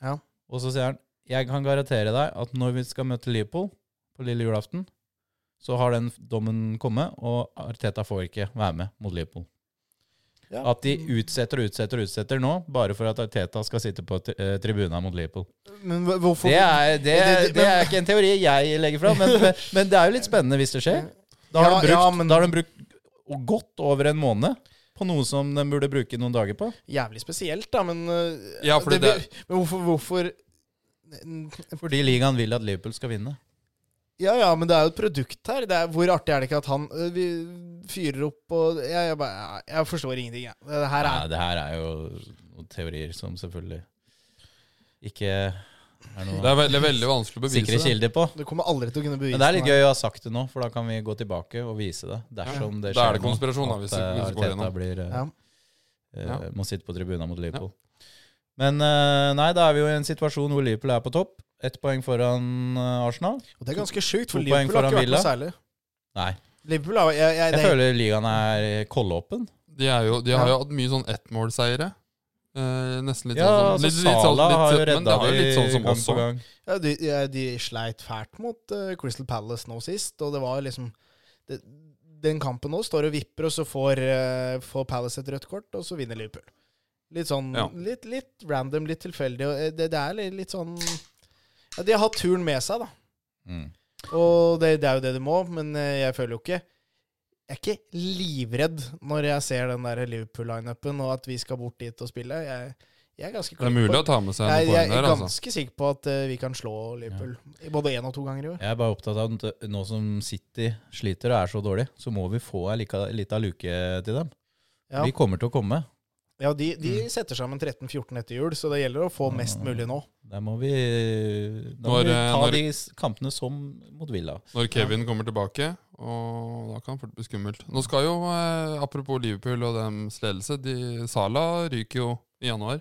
[SPEAKER 3] Ja.
[SPEAKER 1] Og så sier han jeg kan garantere deg at når vi skal møte Liverpool på lille julaften, så har den dommen kommet, og Arteta får ikke være med mot Liverpool.
[SPEAKER 3] Ja.
[SPEAKER 1] At de utsetter og utsetter og utsetter nå, bare for at Arteta skal sitte på tri- eh, tribunen mot Liverpool.
[SPEAKER 3] Men hv- hvorfor
[SPEAKER 1] Det er, det,
[SPEAKER 3] det- det-
[SPEAKER 1] det er ikke en teori jeg legger fram, men, men, men det er jo litt spennende hvis det skjer. Da har,
[SPEAKER 3] Ja,
[SPEAKER 1] de brukt,
[SPEAKER 3] ja, men-
[SPEAKER 1] da har de brukt godt over en måned på noe som de burde bruke noen dager på.
[SPEAKER 3] Jævlig spesielt, da, men øh,
[SPEAKER 2] Ja, fordi det-
[SPEAKER 3] Men hvorfor, hvorfor
[SPEAKER 1] Fordi ligaen vil at Liverpool skal vinne.
[SPEAKER 3] Ja, ja, men det er jo et produkt her. Det er, hvor artig er det ikke at han øh, vi fyrer opp og Jeg, jeg, bare, jeg- jeg forstår ingenting, jeg. Det her
[SPEAKER 1] Nei,
[SPEAKER 3] er
[SPEAKER 1] det her er jo noen teorier som selvfølgelig ikke er
[SPEAKER 2] Det
[SPEAKER 1] noe
[SPEAKER 2] er veldig, veldig vanskelig å bevise.
[SPEAKER 1] sikre
[SPEAKER 2] det.
[SPEAKER 1] kilder på.
[SPEAKER 3] Du kommer aldri til å kunne bevise
[SPEAKER 1] Men det er litt gøy å ha sagt det nå, for da kan vi gå tilbake og vise det. Dersom det skjer
[SPEAKER 2] Da er det
[SPEAKER 1] noe,
[SPEAKER 2] konspirasjon, da,
[SPEAKER 1] at,
[SPEAKER 2] hvis det-
[SPEAKER 1] eh,
[SPEAKER 2] hvis det går
[SPEAKER 1] Arteta
[SPEAKER 2] gjennom.
[SPEAKER 1] blir, eh,
[SPEAKER 3] Ja.
[SPEAKER 1] eh,
[SPEAKER 2] Ja.
[SPEAKER 1] må sitte på tribunen mot Liverpool. Men eh, nei, da er vi jo i en situasjon hvor Liverpool er på topp. Ett poeng foran eh, Arsenal.
[SPEAKER 3] Og det er ganske sjukt, for
[SPEAKER 1] To poeng
[SPEAKER 3] Liverpool har ikke
[SPEAKER 1] foran
[SPEAKER 3] vært noe særlig.
[SPEAKER 1] Nei.
[SPEAKER 3] Liverpool har jeg, jeg,
[SPEAKER 1] Jeg
[SPEAKER 3] det,
[SPEAKER 1] føler ligaen er kollåpen.
[SPEAKER 2] De, er jo, de har
[SPEAKER 3] Ja.
[SPEAKER 2] jo hatt mye sånn ettmålseiere. Eh, nesten litt
[SPEAKER 1] Ja,
[SPEAKER 2] sånn
[SPEAKER 1] altså Sala har jo
[SPEAKER 2] litt- men
[SPEAKER 1] redda
[SPEAKER 2] det er jo
[SPEAKER 1] de
[SPEAKER 2] litt sånn som
[SPEAKER 1] gang
[SPEAKER 2] oss
[SPEAKER 1] på
[SPEAKER 2] også.
[SPEAKER 1] gang.
[SPEAKER 3] Ja, de, ja, de sleit fælt mot eh, Crystal Palace nå sist, og det var liksom det, Den kampen nå står og vipper, og så får, eh, får Palace et rødt kort, og så vinner Liverpool. Litt sånn
[SPEAKER 2] Ja.
[SPEAKER 3] litt, litt random, litt tilfeldig. Og eh, det, det er litt, litt sånn ja, De har hatt turen med seg, da.
[SPEAKER 1] Mm.
[SPEAKER 3] Og det, det er jo det du må, men eh, jeg føler jo ikke Jeg er ikke livredd når jeg ser den der Liverpool-lineupen, og at vi skal bort dit og spille. Jeg, jeg er ganske
[SPEAKER 2] Det er
[SPEAKER 3] klar
[SPEAKER 2] mulig
[SPEAKER 3] på-
[SPEAKER 2] å ta med seg
[SPEAKER 3] jeg,
[SPEAKER 2] noen
[SPEAKER 3] jeg
[SPEAKER 2] poeng
[SPEAKER 3] er
[SPEAKER 2] der,
[SPEAKER 3] ganske
[SPEAKER 2] altså.
[SPEAKER 3] sikker på at eh, vi kan slå Liverpool. Både én og to ganger i år.
[SPEAKER 1] Jeg er bare opptatt av at nå som City sliter og er så dårlig, så må vi få ei lika- lita luke til dem.
[SPEAKER 3] Ja.
[SPEAKER 1] Vi kommer til å komme.
[SPEAKER 3] Ja, De, de
[SPEAKER 2] Mm.
[SPEAKER 3] setter sammen 13-14 etter jul, så det gjelder å få mest mulig nå.
[SPEAKER 1] Der må vi, da må
[SPEAKER 2] Når,
[SPEAKER 1] vi
[SPEAKER 2] eh,
[SPEAKER 1] ta
[SPEAKER 2] når-
[SPEAKER 1] de s- kampene som mot Villa.
[SPEAKER 2] Når Kevin kommer tilbake, og da kan det fort bli skummelt. Nå skal jo, eh, apropos Liverpool og deres ledelse, de, Sala ryker jo i januar.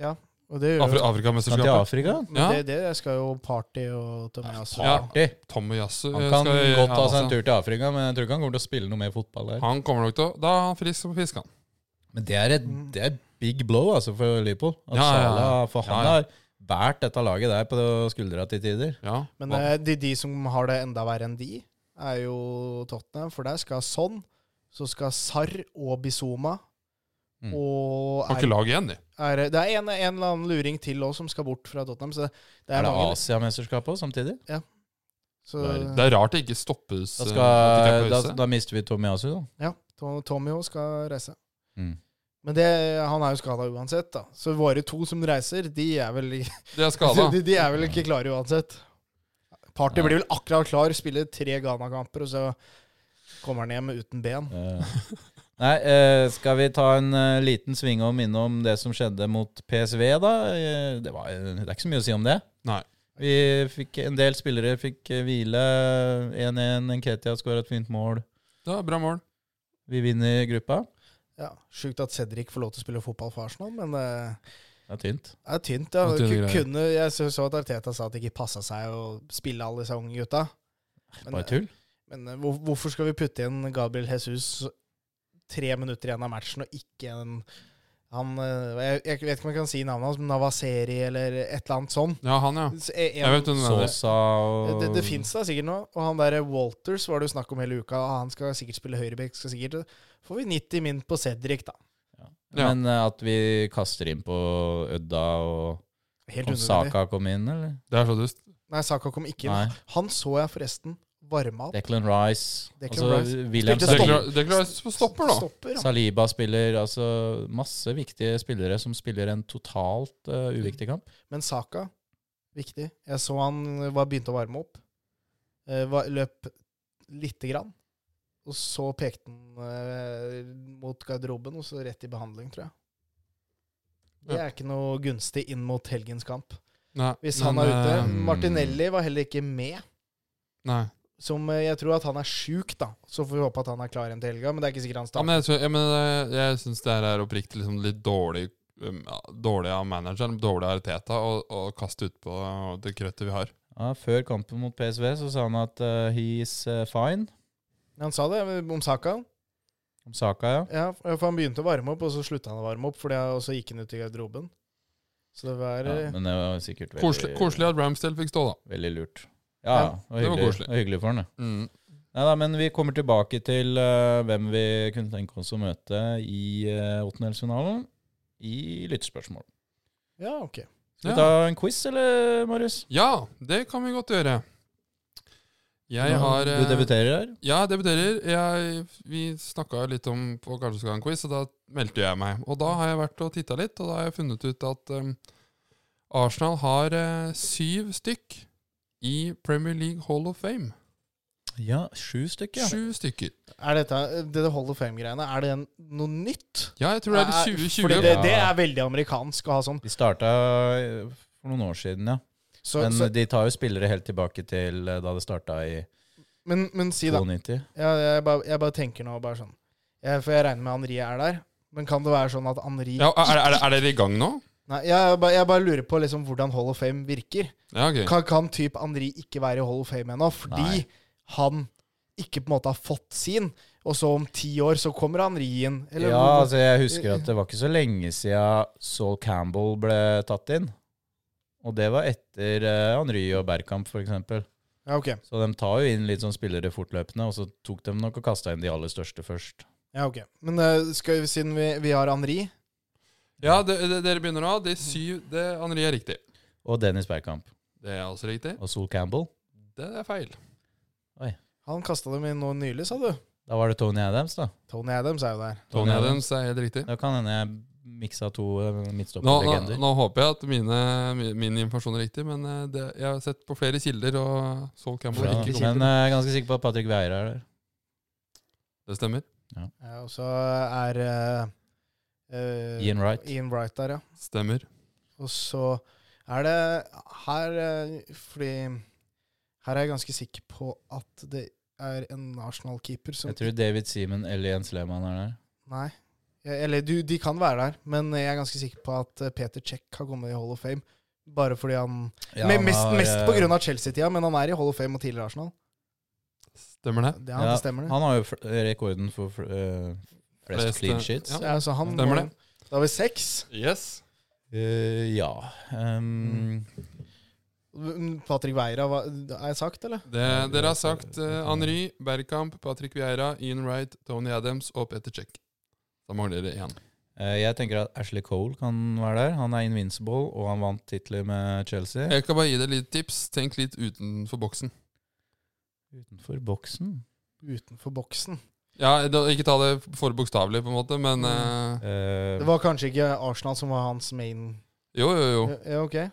[SPEAKER 3] Ja, og det gjør
[SPEAKER 2] Afri
[SPEAKER 3] jo
[SPEAKER 1] Skal til
[SPEAKER 2] Afrikamesterskapet.
[SPEAKER 1] Afrika?
[SPEAKER 2] Ja.
[SPEAKER 3] det, det skal jo Party og Tomeas
[SPEAKER 2] Ja.
[SPEAKER 1] Artig.
[SPEAKER 2] Tommy Yasu
[SPEAKER 1] Han kan
[SPEAKER 2] Eh, skal-
[SPEAKER 1] godt ta
[SPEAKER 2] ja,
[SPEAKER 1] seg en
[SPEAKER 2] altså.
[SPEAKER 1] tur til Afrika, men jeg tror ikke han kommer til å spille noe mer fotball der.
[SPEAKER 2] Han kommer nok til å Da er han frisk på fisk, han.
[SPEAKER 1] Men det er et, det er et big blow altså, for Liverpool. At
[SPEAKER 2] Ja, ja, ja.
[SPEAKER 1] Salah- for han
[SPEAKER 2] Ja, ja.
[SPEAKER 1] har båret dette laget der på skuldra til tider.
[SPEAKER 2] Ja.
[SPEAKER 3] Men
[SPEAKER 2] Hva-
[SPEAKER 3] eh, de, de som har det enda verre enn de, er jo Tottenham. For der skal Son, så skal Sarr og Bizuma
[SPEAKER 1] Mm.
[SPEAKER 3] og
[SPEAKER 2] har ikke
[SPEAKER 3] er,
[SPEAKER 2] lag igjen, de.
[SPEAKER 3] er, Det er en, en eller annen luring til òg som skal bort fra Tottenham. Så det, det
[SPEAKER 1] Er
[SPEAKER 3] er,
[SPEAKER 1] det
[SPEAKER 3] mange.
[SPEAKER 1] Asiamesterskapet òg samtidig?
[SPEAKER 3] Så,
[SPEAKER 2] Det er rart det ikke stoppes.
[SPEAKER 1] Da,
[SPEAKER 2] eh, at
[SPEAKER 1] skal,
[SPEAKER 2] de
[SPEAKER 1] da,
[SPEAKER 2] kan pause.
[SPEAKER 1] da mister vi Tomiyasu, da.
[SPEAKER 3] ja, Tom- Tommy òg skal reise.
[SPEAKER 1] Mm.
[SPEAKER 3] Men det, han er jo skada uansett, da. Så våre to som reiser, de er vel,
[SPEAKER 2] De er skada.
[SPEAKER 3] de, de er vel ikke klare uansett. Party
[SPEAKER 1] Nei.
[SPEAKER 3] blir vel akkurat klar, spiller tre Ghana-kamper, og så kommer han hjem uten ben.
[SPEAKER 1] Eh, Nei, eh, skal vi ta en eh, liten sving om innom det som skjedde mot PSV, da? Eh, det, var, det er ikke så mye å si om det.
[SPEAKER 2] Nei.
[SPEAKER 1] Vi fikk, en del spillere fikk eh, hvile. 1-1, Nketia skåra et fint mål.
[SPEAKER 2] Det er bra mål.
[SPEAKER 1] Vi vinner gruppa.
[SPEAKER 3] Ja, Sjukt at Cedric får lov til å spille fotball for Arsenal, men eh,
[SPEAKER 1] Det er tynt.
[SPEAKER 3] det er tynt.
[SPEAKER 2] Det
[SPEAKER 3] Ja.
[SPEAKER 2] er tynne
[SPEAKER 3] Ku-
[SPEAKER 2] greier.
[SPEAKER 3] Kunne, jeg så, så at Arteta sa at det ikke passa seg å spille alle disse unge gutta. Men,
[SPEAKER 1] Bare tull.
[SPEAKER 3] men eh, hvor- hvorfor skal vi putte inn Gabriel Jesus tre minutter igjen av matchen, og ikke en han, eh, jeg, jeg vet ikke om jeg kan si navnet hans, men Navaseri eller et eller annet sånn.
[SPEAKER 2] Ja, han, ja.
[SPEAKER 3] Så en-
[SPEAKER 2] Jeg vet hvem du mener.
[SPEAKER 1] Sosa og
[SPEAKER 3] det, det fins da sikkert noe. Og han der eh, Walters var det jo snakk om hele uka. og Han skal sikkert spille høyreback. Skal sikkert eh, Får vi 90 min på Cedric, da.
[SPEAKER 2] Ja.
[SPEAKER 1] Men eh, at vi kaster inn på Ødda og,
[SPEAKER 3] Helt
[SPEAKER 1] og
[SPEAKER 3] unødvendig.
[SPEAKER 1] Saka kom inn, eller?
[SPEAKER 2] Det er så dust.
[SPEAKER 3] Nei, Saka kom ikke inn.
[SPEAKER 1] Nei.
[SPEAKER 3] Han så jeg forresten varme opp.
[SPEAKER 1] Declan Rice.
[SPEAKER 3] Declan
[SPEAKER 1] altså,
[SPEAKER 3] Rice.
[SPEAKER 1] William
[SPEAKER 3] Spilte stopp.
[SPEAKER 1] Saliba.
[SPEAKER 2] Deklar- Deklarer på stopper, da.
[SPEAKER 3] Stopper, ja.
[SPEAKER 1] Saliba spiller altså masse viktige spillere som spiller en totalt eh, uviktig kamp.
[SPEAKER 3] Men Saka, viktig. Jeg så han var begynte å varme opp. Eh, var, løp lite grann. Og så pekte han eh, mot garderoben, og så rett i behandling, tror jeg. Det er ikke noe gunstig inn mot helgens kamp.
[SPEAKER 2] Nei,
[SPEAKER 3] Hvis
[SPEAKER 2] men,
[SPEAKER 3] han er ute.
[SPEAKER 2] eh,
[SPEAKER 1] mm.
[SPEAKER 3] Martinelli var heller ikke med.
[SPEAKER 2] Nei.
[SPEAKER 3] Som eh, Jeg tror at han er sjuk, da. Så får vi håpe at han er klar igjen til helga, men det er ikke sikkert han
[SPEAKER 2] Ja,
[SPEAKER 3] starter.
[SPEAKER 2] men jeg, tror- jeg, mener, eh, jeg syns det her er oppriktig liksom litt dårlig um, ja, Dårlig av manageren, dårlig av Teta, å å kaste utpå det krøttet vi har.
[SPEAKER 1] Ja, før kampen mot PSV så sa han at eh, he's eh, fine.
[SPEAKER 3] Han sa det eh, om Saka.
[SPEAKER 1] Om Saka, ja.
[SPEAKER 3] Ja, for han begynte å varme opp, og så slutta han å varme opp, fordi han- og så gikk han ut i garderoben. Så det var
[SPEAKER 1] ja.
[SPEAKER 3] eh,
[SPEAKER 1] Men det var sikkert veldig,
[SPEAKER 2] Koselig, koselig at Ramsdale fikk stå, da.
[SPEAKER 1] veldig lurt. Ja, ja. Det
[SPEAKER 2] det
[SPEAKER 1] var
[SPEAKER 2] var
[SPEAKER 1] hyggelig,
[SPEAKER 2] koselig.
[SPEAKER 1] det var hyggelig for han, det.
[SPEAKER 2] Mm.
[SPEAKER 1] Nei da, men vi kommer tilbake til eh, hvem vi kunne tenke oss å møte i uh, åttendelsfinalen i lyttespørsmål.
[SPEAKER 3] Ja, ok.
[SPEAKER 1] Skal vi
[SPEAKER 2] Ja.
[SPEAKER 1] ta en quiz, eller, Marius?
[SPEAKER 2] Ja, det kan vi godt gjøre. Jeg
[SPEAKER 1] Nå-
[SPEAKER 2] har eh,
[SPEAKER 1] Du debuterer her.
[SPEAKER 2] Ja, jeg debuterer. Jeg, vi snakka litt om på kanskje skal ha en quiz, og da meldte jeg meg. Og da har jeg vært og titta litt, og da har jeg funnet ut at um, Arsenal har eh, syv stykk i Premier League Hall of Fame.
[SPEAKER 1] Ja, sju stykker. Ja.
[SPEAKER 2] Sju stykker.
[SPEAKER 3] Er dette det Hall of Fame-greiene, er det en, noe nytt?
[SPEAKER 2] Ja, jeg tror det
[SPEAKER 3] Er-
[SPEAKER 2] er i
[SPEAKER 3] Fordi
[SPEAKER 2] 2020.
[SPEAKER 3] det, det er veldig amerikansk å ha sånn.
[SPEAKER 1] De starta eh, for noen år siden, ja.
[SPEAKER 3] Så,
[SPEAKER 1] Men
[SPEAKER 3] men, så,
[SPEAKER 1] de tar jo spillere helt tilbake til eh, da det starta i
[SPEAKER 3] men, men si da.
[SPEAKER 1] 92.
[SPEAKER 3] Jeg, jeg, bare, jeg bare tenker nå bare sånn. Jeg, for jeg regner med Henri er der. Men kan det være sånn at Henri
[SPEAKER 2] Ja, er, er, er dere i gang nå?
[SPEAKER 3] Nei, jeg, bare, jeg bare lurer på liksom hvordan Hall of Fame virker.
[SPEAKER 2] Ja, ok.
[SPEAKER 3] Kan, kan typ Henri ikke være i Hall of Fame ennå, fordi
[SPEAKER 1] Nei.
[SPEAKER 3] han ikke på en måte har fått sin. Og så om ti år så kommer han rien. Eller,
[SPEAKER 1] Ja, altså jeg husker at det var ikke så lenge siden Saul Campbell ble tatt inn. Og det var etter eh, Henry og Bergkamp, f.eks.
[SPEAKER 3] ja, ok.
[SPEAKER 1] Så de tar jo inn litt sånn spillere fortløpende, og så tok de nok og kasta inn de aller største først.
[SPEAKER 3] Ja, ok. Men eh, skal vi, siden vi, vi har Henri
[SPEAKER 2] Ja, det, det, dere begynner nå. Det er syv. Det, Henri er riktig.
[SPEAKER 1] Og Dennis Bergkamp.
[SPEAKER 2] Det er også riktig.
[SPEAKER 1] Og Saul Campbell.
[SPEAKER 2] Det er feil.
[SPEAKER 3] Han kasta dem inn nå nylig, sa du.
[SPEAKER 1] Da var det Tony Adams, da.
[SPEAKER 3] Tony Adams er jo der.
[SPEAKER 2] Tony Adams er helt riktig.
[SPEAKER 1] Da kan hende jeg miksa to eh,
[SPEAKER 2] Nå, nå,
[SPEAKER 1] midtstopperlegender.
[SPEAKER 2] nå håper jeg at mine, mi- min informasjon er riktig, men eh, det, jeg har sett på flere kilder, og Saul Campbell
[SPEAKER 1] Ja,
[SPEAKER 2] er
[SPEAKER 1] Men
[SPEAKER 2] riktig.
[SPEAKER 1] jeg er ganske sikker på at Patrick Vieira er der.
[SPEAKER 2] Det stemmer.
[SPEAKER 3] Ja, og så er eh, eh,
[SPEAKER 1] Ian Wright.
[SPEAKER 3] Ian Wright der, ja.
[SPEAKER 2] Stemmer.
[SPEAKER 3] Og så er det her eh, Fordi her er jeg ganske sikker på at det er en Arsenal-keeper som
[SPEAKER 1] Jeg tror David Seaman eller Jens Lehmann er der.
[SPEAKER 3] Nei. Ja, Eller du, de kan være der, men jeg er ganske sikker på at eh, Peter Check har kommet i Hall of Fame. Bare fordi han,
[SPEAKER 1] Ja,
[SPEAKER 3] men
[SPEAKER 1] han
[SPEAKER 3] Mest,
[SPEAKER 1] har,
[SPEAKER 3] mest
[SPEAKER 1] eh,
[SPEAKER 3] på grunn av Chelsea-tida, men han er i Hall of Fame og tidligere Arsenal.
[SPEAKER 2] Stemmer det.
[SPEAKER 3] Det, han
[SPEAKER 1] Ja,
[SPEAKER 3] bestemmer det.
[SPEAKER 1] Han har jo fl- rekorden for fl- eh, flest
[SPEAKER 2] Flest,
[SPEAKER 1] clean
[SPEAKER 2] eh,
[SPEAKER 1] sheets.
[SPEAKER 2] ja.
[SPEAKER 3] Så, ja, så han
[SPEAKER 2] Stemmer det.
[SPEAKER 3] Da har vi seks.
[SPEAKER 2] Yes.
[SPEAKER 1] Eh, ja. Um,
[SPEAKER 3] Mm, Patrick Weira, hva, er jeg sagt, eller?
[SPEAKER 2] Det, dere har sagt eh, Henri, Bergkamp, Patrick Vieira, Ian Wright, Tony Adams og Peter Check. Da mangler dere én.
[SPEAKER 1] eh, jeg tenker at Ashley Cole kan være der. Han er invincible, og han vant titler med Chelsea.
[SPEAKER 2] Jeg kan bare gi dere litt tips. Tenk litt utenfor boksen.
[SPEAKER 1] Utenfor boksen
[SPEAKER 3] Utenfor boksen.
[SPEAKER 2] Ja, da, Ikke ta det for bokstavelig, på en måte,
[SPEAKER 1] Mm.
[SPEAKER 2] men eh,
[SPEAKER 1] Eh,
[SPEAKER 3] Det var kanskje ikke Arsenal som var hans main
[SPEAKER 2] Jo, jo, jo.
[SPEAKER 3] Ja, ok.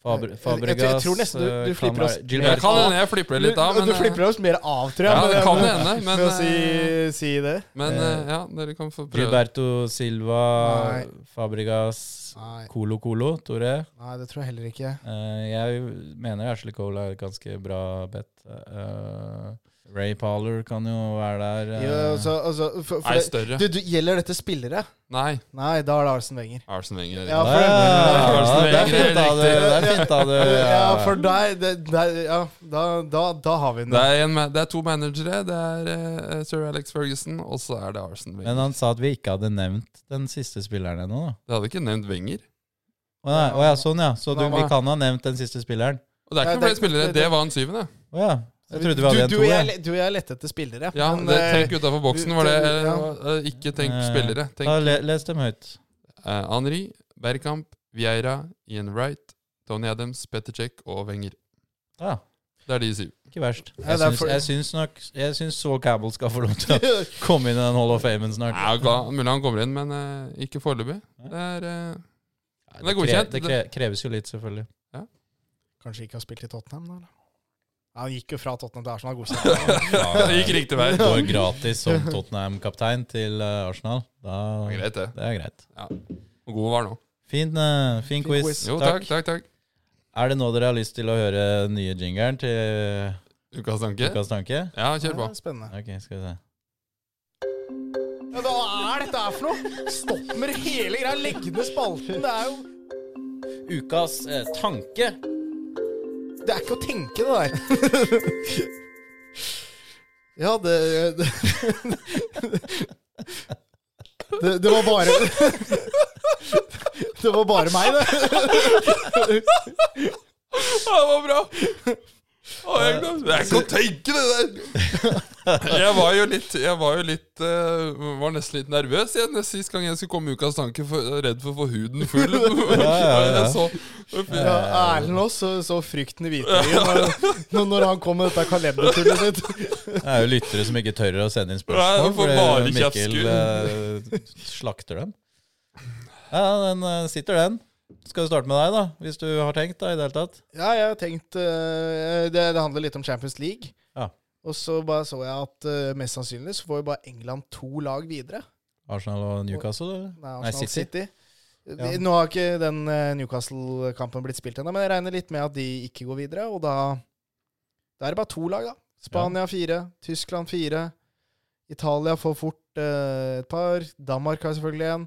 [SPEAKER 1] Fabr
[SPEAKER 3] jeg- jeg- jeg
[SPEAKER 1] Fabregas
[SPEAKER 3] tror nesten du- du
[SPEAKER 1] eh,
[SPEAKER 3] flipper
[SPEAKER 1] kan være-
[SPEAKER 3] oss.
[SPEAKER 1] Gilbert-
[SPEAKER 2] Jeg kan hende jeg flipper litt av, men,
[SPEAKER 3] du, du
[SPEAKER 2] eh,
[SPEAKER 3] flipper oss mer av, tror jeg.
[SPEAKER 2] ja, det
[SPEAKER 3] med-
[SPEAKER 2] kan
[SPEAKER 3] med-
[SPEAKER 2] hende. Men,
[SPEAKER 3] med å si,
[SPEAKER 2] eh,
[SPEAKER 3] si det.
[SPEAKER 2] men eh,
[SPEAKER 1] Eh,
[SPEAKER 2] ja, dere kan få prøve.
[SPEAKER 1] Gilberto Silva,
[SPEAKER 3] Nei.
[SPEAKER 1] Fabregas,
[SPEAKER 3] Nei,
[SPEAKER 1] Colo Colo, Tore.
[SPEAKER 3] nei, det tror jeg heller ikke.
[SPEAKER 1] Eh, jeg mener Ashley Cole er et ganske bra bet. Eh, Ray Parler kan jo være der. eh.
[SPEAKER 3] Jo, altså, altså, for, for
[SPEAKER 2] Nei,
[SPEAKER 3] det,
[SPEAKER 2] større.
[SPEAKER 3] du, du, gjelder dette spillere?
[SPEAKER 2] Nei,
[SPEAKER 3] Nei, da er det Arsen Wenger.
[SPEAKER 2] Arsen Wenger.
[SPEAKER 3] Ja,
[SPEAKER 1] Ja,
[SPEAKER 3] for-
[SPEAKER 1] ja,
[SPEAKER 2] det
[SPEAKER 1] det
[SPEAKER 2] er
[SPEAKER 1] er fint av du, det er fint av du.
[SPEAKER 3] Ja,
[SPEAKER 1] ja.
[SPEAKER 3] for deg det, det, Ja, da, da, da har vi den.
[SPEAKER 2] Det er, en, ma- det er to managere. Det er eh, sir Alex Ferguson, og så er det Arsen Wenger.
[SPEAKER 1] Men han sa at vi ikke hadde nevnt den siste spilleren ennå, da.
[SPEAKER 2] Det hadde ikke nevnt Wenger.
[SPEAKER 1] Å nei, å ja, sånn ja. Så du, vi
[SPEAKER 3] Nei, nei.
[SPEAKER 1] kan ha nevnt den siste spilleren?
[SPEAKER 2] Og det er
[SPEAKER 3] Ja,
[SPEAKER 2] ikke noen flere
[SPEAKER 3] det-
[SPEAKER 2] spillere.
[SPEAKER 3] det-
[SPEAKER 2] Det var en syvende.
[SPEAKER 1] Å ja. Jeg trodde vi
[SPEAKER 3] du,
[SPEAKER 1] hadde en
[SPEAKER 3] du,
[SPEAKER 1] to.
[SPEAKER 3] og
[SPEAKER 1] ja.
[SPEAKER 3] jeg, du og jeg lette etter spillere.
[SPEAKER 2] Ja,
[SPEAKER 3] men,
[SPEAKER 2] det,
[SPEAKER 3] eh,
[SPEAKER 2] Tenk utafor boksen. var det eh,
[SPEAKER 3] Ja.
[SPEAKER 2] eh, Ikke tenk
[SPEAKER 1] Eh,
[SPEAKER 2] spillere. Tenk
[SPEAKER 1] Da le, les dem høyt.
[SPEAKER 2] eh, Henri, Bergkamp, Vieira, Ian Wright, Tony Adams, Petter Cech og Wenger.
[SPEAKER 1] Ja,
[SPEAKER 2] Det er de syv.
[SPEAKER 1] ikke verst.
[SPEAKER 3] Nei,
[SPEAKER 1] Jeg
[SPEAKER 3] det er
[SPEAKER 1] syns,
[SPEAKER 3] for-
[SPEAKER 1] jeg syns nok Jeg syns Saul Campbell skal få lov til å komme inn i den Hall of Famen snart.
[SPEAKER 2] Ja, ga- Mulig han kommer inn, men eh, ikke foreløpig. Det er eh,
[SPEAKER 1] Nei,
[SPEAKER 2] det er
[SPEAKER 1] kre-
[SPEAKER 2] godkjent.
[SPEAKER 1] Det kre, kreves jo litt, selvfølgelig.
[SPEAKER 3] Kanskje ikke har spilt i Tottenham, da? eller? Ja, han gikk jo fra Tottenham til Arsenal. godkjent.
[SPEAKER 2] Det gikk riktig vei. Det
[SPEAKER 1] Går gratis som Tottenham-kaptein til eh, Arsenal. Da,
[SPEAKER 2] var
[SPEAKER 1] det
[SPEAKER 2] Greit, det.
[SPEAKER 1] er greit.
[SPEAKER 2] Hvor god var han nå?
[SPEAKER 1] Fin, eh, fin, quiz.
[SPEAKER 3] quiz.
[SPEAKER 2] Jo, takk, takk. takk.
[SPEAKER 1] Er det nå dere har lyst til å høre den nye jingeren til
[SPEAKER 2] Ukas tanke?
[SPEAKER 1] Ukas tanke?
[SPEAKER 2] Ja, kjør på.
[SPEAKER 3] Ja, altså. Spennende.
[SPEAKER 1] Ok, skal vi se.
[SPEAKER 3] Ja, hva er dette her for noe? Stopp med det hele greia. Legg ned spalten. Det er jo
[SPEAKER 1] Ukas eh, tanke.
[SPEAKER 3] Det er ikke å tenke, det der. ja, det det, det det var bare Det var bare meg, det.
[SPEAKER 2] Ja, det var bra! Å, jeg glem- det er ikke å tenke, det der! Jeg var jo litt Jeg var jo litt eh, Var nesten litt nervøs igjen nest- sist gang jeg skulle komme med ukas tanke. For, redd for å få huden full.
[SPEAKER 1] ja, ja.
[SPEAKER 2] Jeg så,
[SPEAKER 3] Ja, Erlend Aas så, så frykten i hvitøyet når, når- når han kom med dette kalendertullet sitt.
[SPEAKER 1] Det er jo lyttere som ikke tør å sende inn
[SPEAKER 2] Nei,
[SPEAKER 1] spørsmål,
[SPEAKER 2] det får bare
[SPEAKER 1] fordi Mikkel eh, slakter dem. Ja, den eh, sitter, den. Skal vi starte med deg, da? Hvis du har tenkt, da, i det hele tatt?
[SPEAKER 3] Ja, jeg har tenkt eh, det, det handler litt om Champions League.
[SPEAKER 1] Ja.
[SPEAKER 3] Og så bare så jeg at eh, mest sannsynlig så får jo bare England to lag videre.
[SPEAKER 1] Arsenal og Newcastle, eller?
[SPEAKER 3] Nei, Arsenal
[SPEAKER 1] City.
[SPEAKER 3] City. Vi- Nå har ikke den eh, Newcastle-kampen blitt spilt ennå, men jeg regner litt med at de ikke går videre. Og da, da er det bare to lag, da. Spania fire, Tyskland fire. Italia får fort eh, et par. Danmark har selvfølgelig en.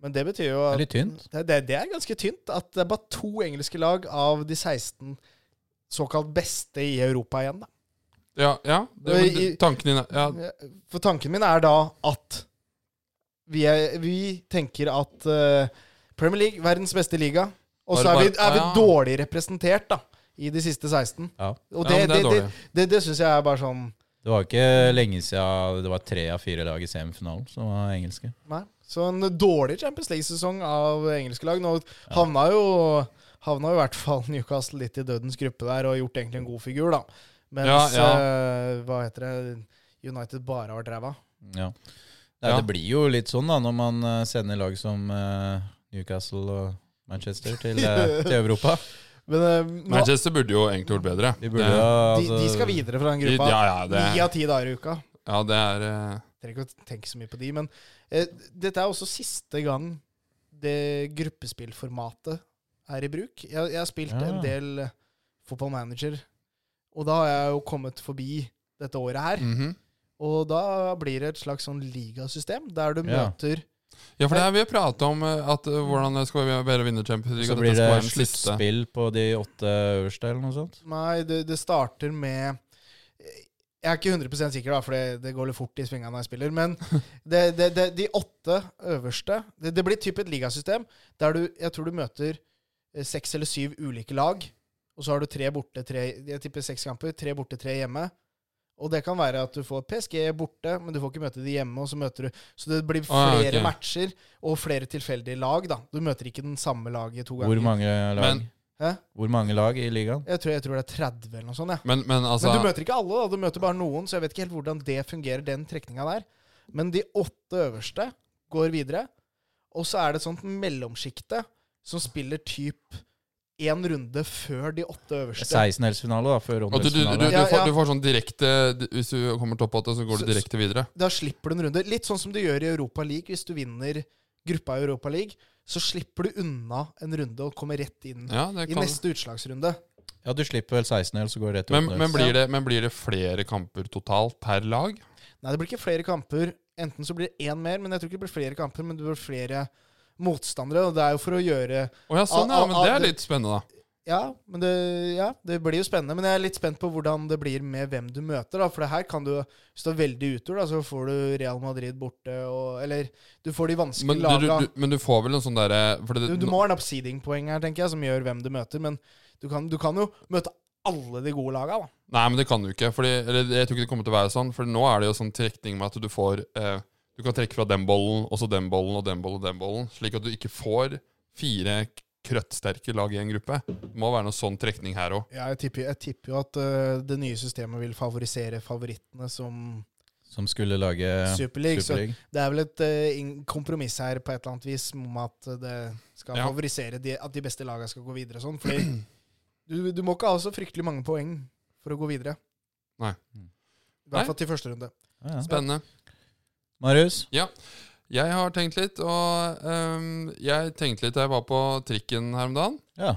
[SPEAKER 3] Men det betyr jo
[SPEAKER 1] Det
[SPEAKER 3] at
[SPEAKER 1] er litt tynt.
[SPEAKER 3] det, det, det er ganske tynt at det er bare to engelske lag av de 16 såkalt beste i Europa igjen, da.
[SPEAKER 2] Ja, ja. Det, men, du- tanken din er ja,
[SPEAKER 3] For tanken min er da at vi, er, vi tenker at eh, Premier League, verdens beste liga, og
[SPEAKER 2] Bare
[SPEAKER 3] så er vi,
[SPEAKER 2] bare-
[SPEAKER 3] er vi
[SPEAKER 2] ah, ja.
[SPEAKER 3] dårlig representert da, i de siste 16.
[SPEAKER 1] Ja.
[SPEAKER 3] Og
[SPEAKER 2] Ja,
[SPEAKER 3] det,
[SPEAKER 2] men det
[SPEAKER 3] det,
[SPEAKER 2] er
[SPEAKER 3] det,
[SPEAKER 2] dårlig.
[SPEAKER 3] det, det, syns jeg er bare sånn
[SPEAKER 1] Det var ikke lenge siden det var tre av fire lag i semifinalen som var engelske.
[SPEAKER 3] Nei. Så en dårlig Champions League-sesong av engelske lag. Nå havna jo Havna jo i hvert fall Newcastle litt i dødens gruppe der, og gjort egentlig en god figur, da. Mens
[SPEAKER 2] Ja,
[SPEAKER 3] eh, hva heter det United bare har vært ræva.
[SPEAKER 1] Ja. Nei,
[SPEAKER 2] Ja.
[SPEAKER 1] Det blir jo litt sånn da, når man eh, sender lag som eh, Newcastle og Manchester til, eh, til Europa.
[SPEAKER 3] Men eh, nå, de,
[SPEAKER 2] Manchester burde jo egentlig gjort bedre.
[SPEAKER 1] De burde
[SPEAKER 2] Det-
[SPEAKER 1] jo, altså,
[SPEAKER 3] de skal videre fra den
[SPEAKER 2] de-
[SPEAKER 3] gruppa.
[SPEAKER 2] Ja, ja,
[SPEAKER 3] Ni
[SPEAKER 2] det,
[SPEAKER 3] av ti dager i uka.
[SPEAKER 2] ja, det er eh,
[SPEAKER 3] Trenger ikke å tenke så mye på de. Men eh, dette er også siste gang det gruppespillformatet er i bruk. Jeg, jeg har spilt
[SPEAKER 1] Ja.
[SPEAKER 3] en del eh, Football Manager, og da har jeg jo kommet forbi dette året her.
[SPEAKER 2] mhm.
[SPEAKER 3] Og da blir det et slags sånn ligasystem, der du
[SPEAKER 1] Ja.
[SPEAKER 3] møter
[SPEAKER 2] Ja, for det her vi har pratet om eh, at eh, hvordan det skal være bedre å vinne Champions League.
[SPEAKER 1] Så
[SPEAKER 2] at
[SPEAKER 1] blir
[SPEAKER 2] dette skal
[SPEAKER 1] det
[SPEAKER 2] være den siste.
[SPEAKER 1] sluttspill på de åtte øverste, eller noe sånt.
[SPEAKER 3] Nei, det, det starter med Jeg er ikke 100 sikker, da, for det, det går litt fort i svingene når jeg spiller. Men det, det, det, de åtte øverste Det, det blir typ et ligasystem der du Jeg tror du møter eh, seks eller syv ulike lag. Og så har du tre borte, tre Jeg tipper seks kamper. Tre borte, tre hjemme. Og det kan være at du får PSG borte, men du får ikke møte de hjemme. Og så møter du Så det blir
[SPEAKER 2] Ah,
[SPEAKER 3] flere
[SPEAKER 2] ja, ok.
[SPEAKER 3] matcher og flere tilfeldige lag, da. Du møter ikke den samme laget to ganger.
[SPEAKER 1] Hvor mange lag,
[SPEAKER 2] Men-
[SPEAKER 3] Hæ?
[SPEAKER 1] Hvor mange lag i ligaen?
[SPEAKER 3] Jeg tror, jeg tror det er 30 eller noe sånt. Ja.
[SPEAKER 2] Men, men altså
[SPEAKER 3] Men du møter ikke alle, da. Du møter bare noen, så jeg vet ikke helt hvordan det fungerer, den trekninga der. Men de åtte øverste går videre. Og så er det et sånt mellomsjikte som spiller typ én runde før de åtte øverste.
[SPEAKER 1] 16 helsefinale, da, før
[SPEAKER 2] og du, du, du, du,
[SPEAKER 1] åttendelsfinale.
[SPEAKER 3] Ja,
[SPEAKER 2] får,
[SPEAKER 3] ja.
[SPEAKER 2] du får sånn direkte Hvis du kommer topp åtte, så går du
[SPEAKER 3] Så-
[SPEAKER 2] direkte videre.
[SPEAKER 3] Da slipper du en runde. Litt sånn som du gjør i Europa League. Hvis du vinner gruppa i Europa League, så slipper du unna en runde og kommer rett inn
[SPEAKER 2] Ja, det
[SPEAKER 3] i
[SPEAKER 2] kan
[SPEAKER 3] neste utslagsrunde.
[SPEAKER 1] Ja, du slipper vel 16 hel, så går det rett til
[SPEAKER 2] men, men,
[SPEAKER 1] åttendels.
[SPEAKER 2] blir det, men blir det flere kamper totalt per lag?
[SPEAKER 3] Nei, det blir ikke flere kamper. Enten så blir det én mer, men jeg tror ikke det blir flere kamper, men det blir flere motstandere. Og det er jo for å gjøre
[SPEAKER 2] Å ja, sånn, ja.
[SPEAKER 3] Al- al-
[SPEAKER 2] Men det
[SPEAKER 3] al-
[SPEAKER 2] er litt spennende, da.
[SPEAKER 3] Ja, men det, ja, det blir jo spennende. Men jeg er litt spent på hvordan det blir med hvem du møter. da, For det her kan du stå veldig utover. da, Så får du Real Madrid borte, og, eller du får de
[SPEAKER 2] Men
[SPEAKER 3] vanskelige
[SPEAKER 2] du,
[SPEAKER 3] laga.
[SPEAKER 2] du,
[SPEAKER 3] Du,
[SPEAKER 2] du, men du får vel en sånn derre for det-
[SPEAKER 3] du, må ha en upseeding-poeng her, tenker jeg, som gjør hvem du møter. Men du kan, du kan jo møte alle de gode laga, da.
[SPEAKER 2] Nei, men det kan du ikke. Fordi, eller, jeg tror ikke det kommer til å være sånn. For nå er det jo sånn trekning med at du får eh, Du kan trekke fra den bollen, og så den bollen, og den bollen, og den bollen. Slik at du ikke får fire k- krøttsterke lag i en gruppe. Det må være noe sånn trekning her òg.
[SPEAKER 3] Ja, jeg tipper, jeg tipper jo at øh, det nye systemet vil favorisere favorittene som
[SPEAKER 1] Som skulle lage
[SPEAKER 3] Superliga. Så
[SPEAKER 1] Superliga.
[SPEAKER 3] det er vel et øh, inn- kompromiss her på et eller annet vis om at eh, det skal
[SPEAKER 2] Ja.
[SPEAKER 3] favorisere de, at de beste lagene skal gå videre og sånn. Fordi du, du må ikke ha så fryktelig mange poeng for å gå videre.
[SPEAKER 2] Nei.
[SPEAKER 3] I hvert fall til første runde.
[SPEAKER 1] Ja, ja.
[SPEAKER 2] Spennende.
[SPEAKER 1] Marius,
[SPEAKER 2] Jeg har tenkt litt, og ehm, jeg tenkte litt da jeg var på trikken her om dagen,
[SPEAKER 1] ja.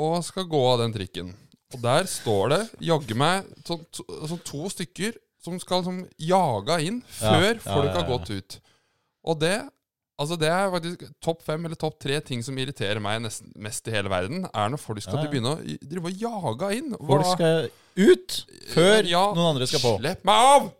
[SPEAKER 2] og skal gå av den trikken. Og der står det jaggu meg sånn to, sånn to stykker som skal sånn jaga inn
[SPEAKER 1] Ja,
[SPEAKER 2] før
[SPEAKER 1] ja,
[SPEAKER 2] folk
[SPEAKER 1] ja,
[SPEAKER 2] har
[SPEAKER 1] ja.
[SPEAKER 2] gått ut. Og det Altså det er faktisk topp fem eller topp tre ting som irriterer meg nesten mest i hele verden, er når folk skal
[SPEAKER 1] Ja, ja.
[SPEAKER 2] begynne å i- drive og jage inn.
[SPEAKER 1] folk
[SPEAKER 2] Hva-
[SPEAKER 1] skal ut før
[SPEAKER 2] Ja,
[SPEAKER 1] noen andre skal på.
[SPEAKER 2] Slipp meg av!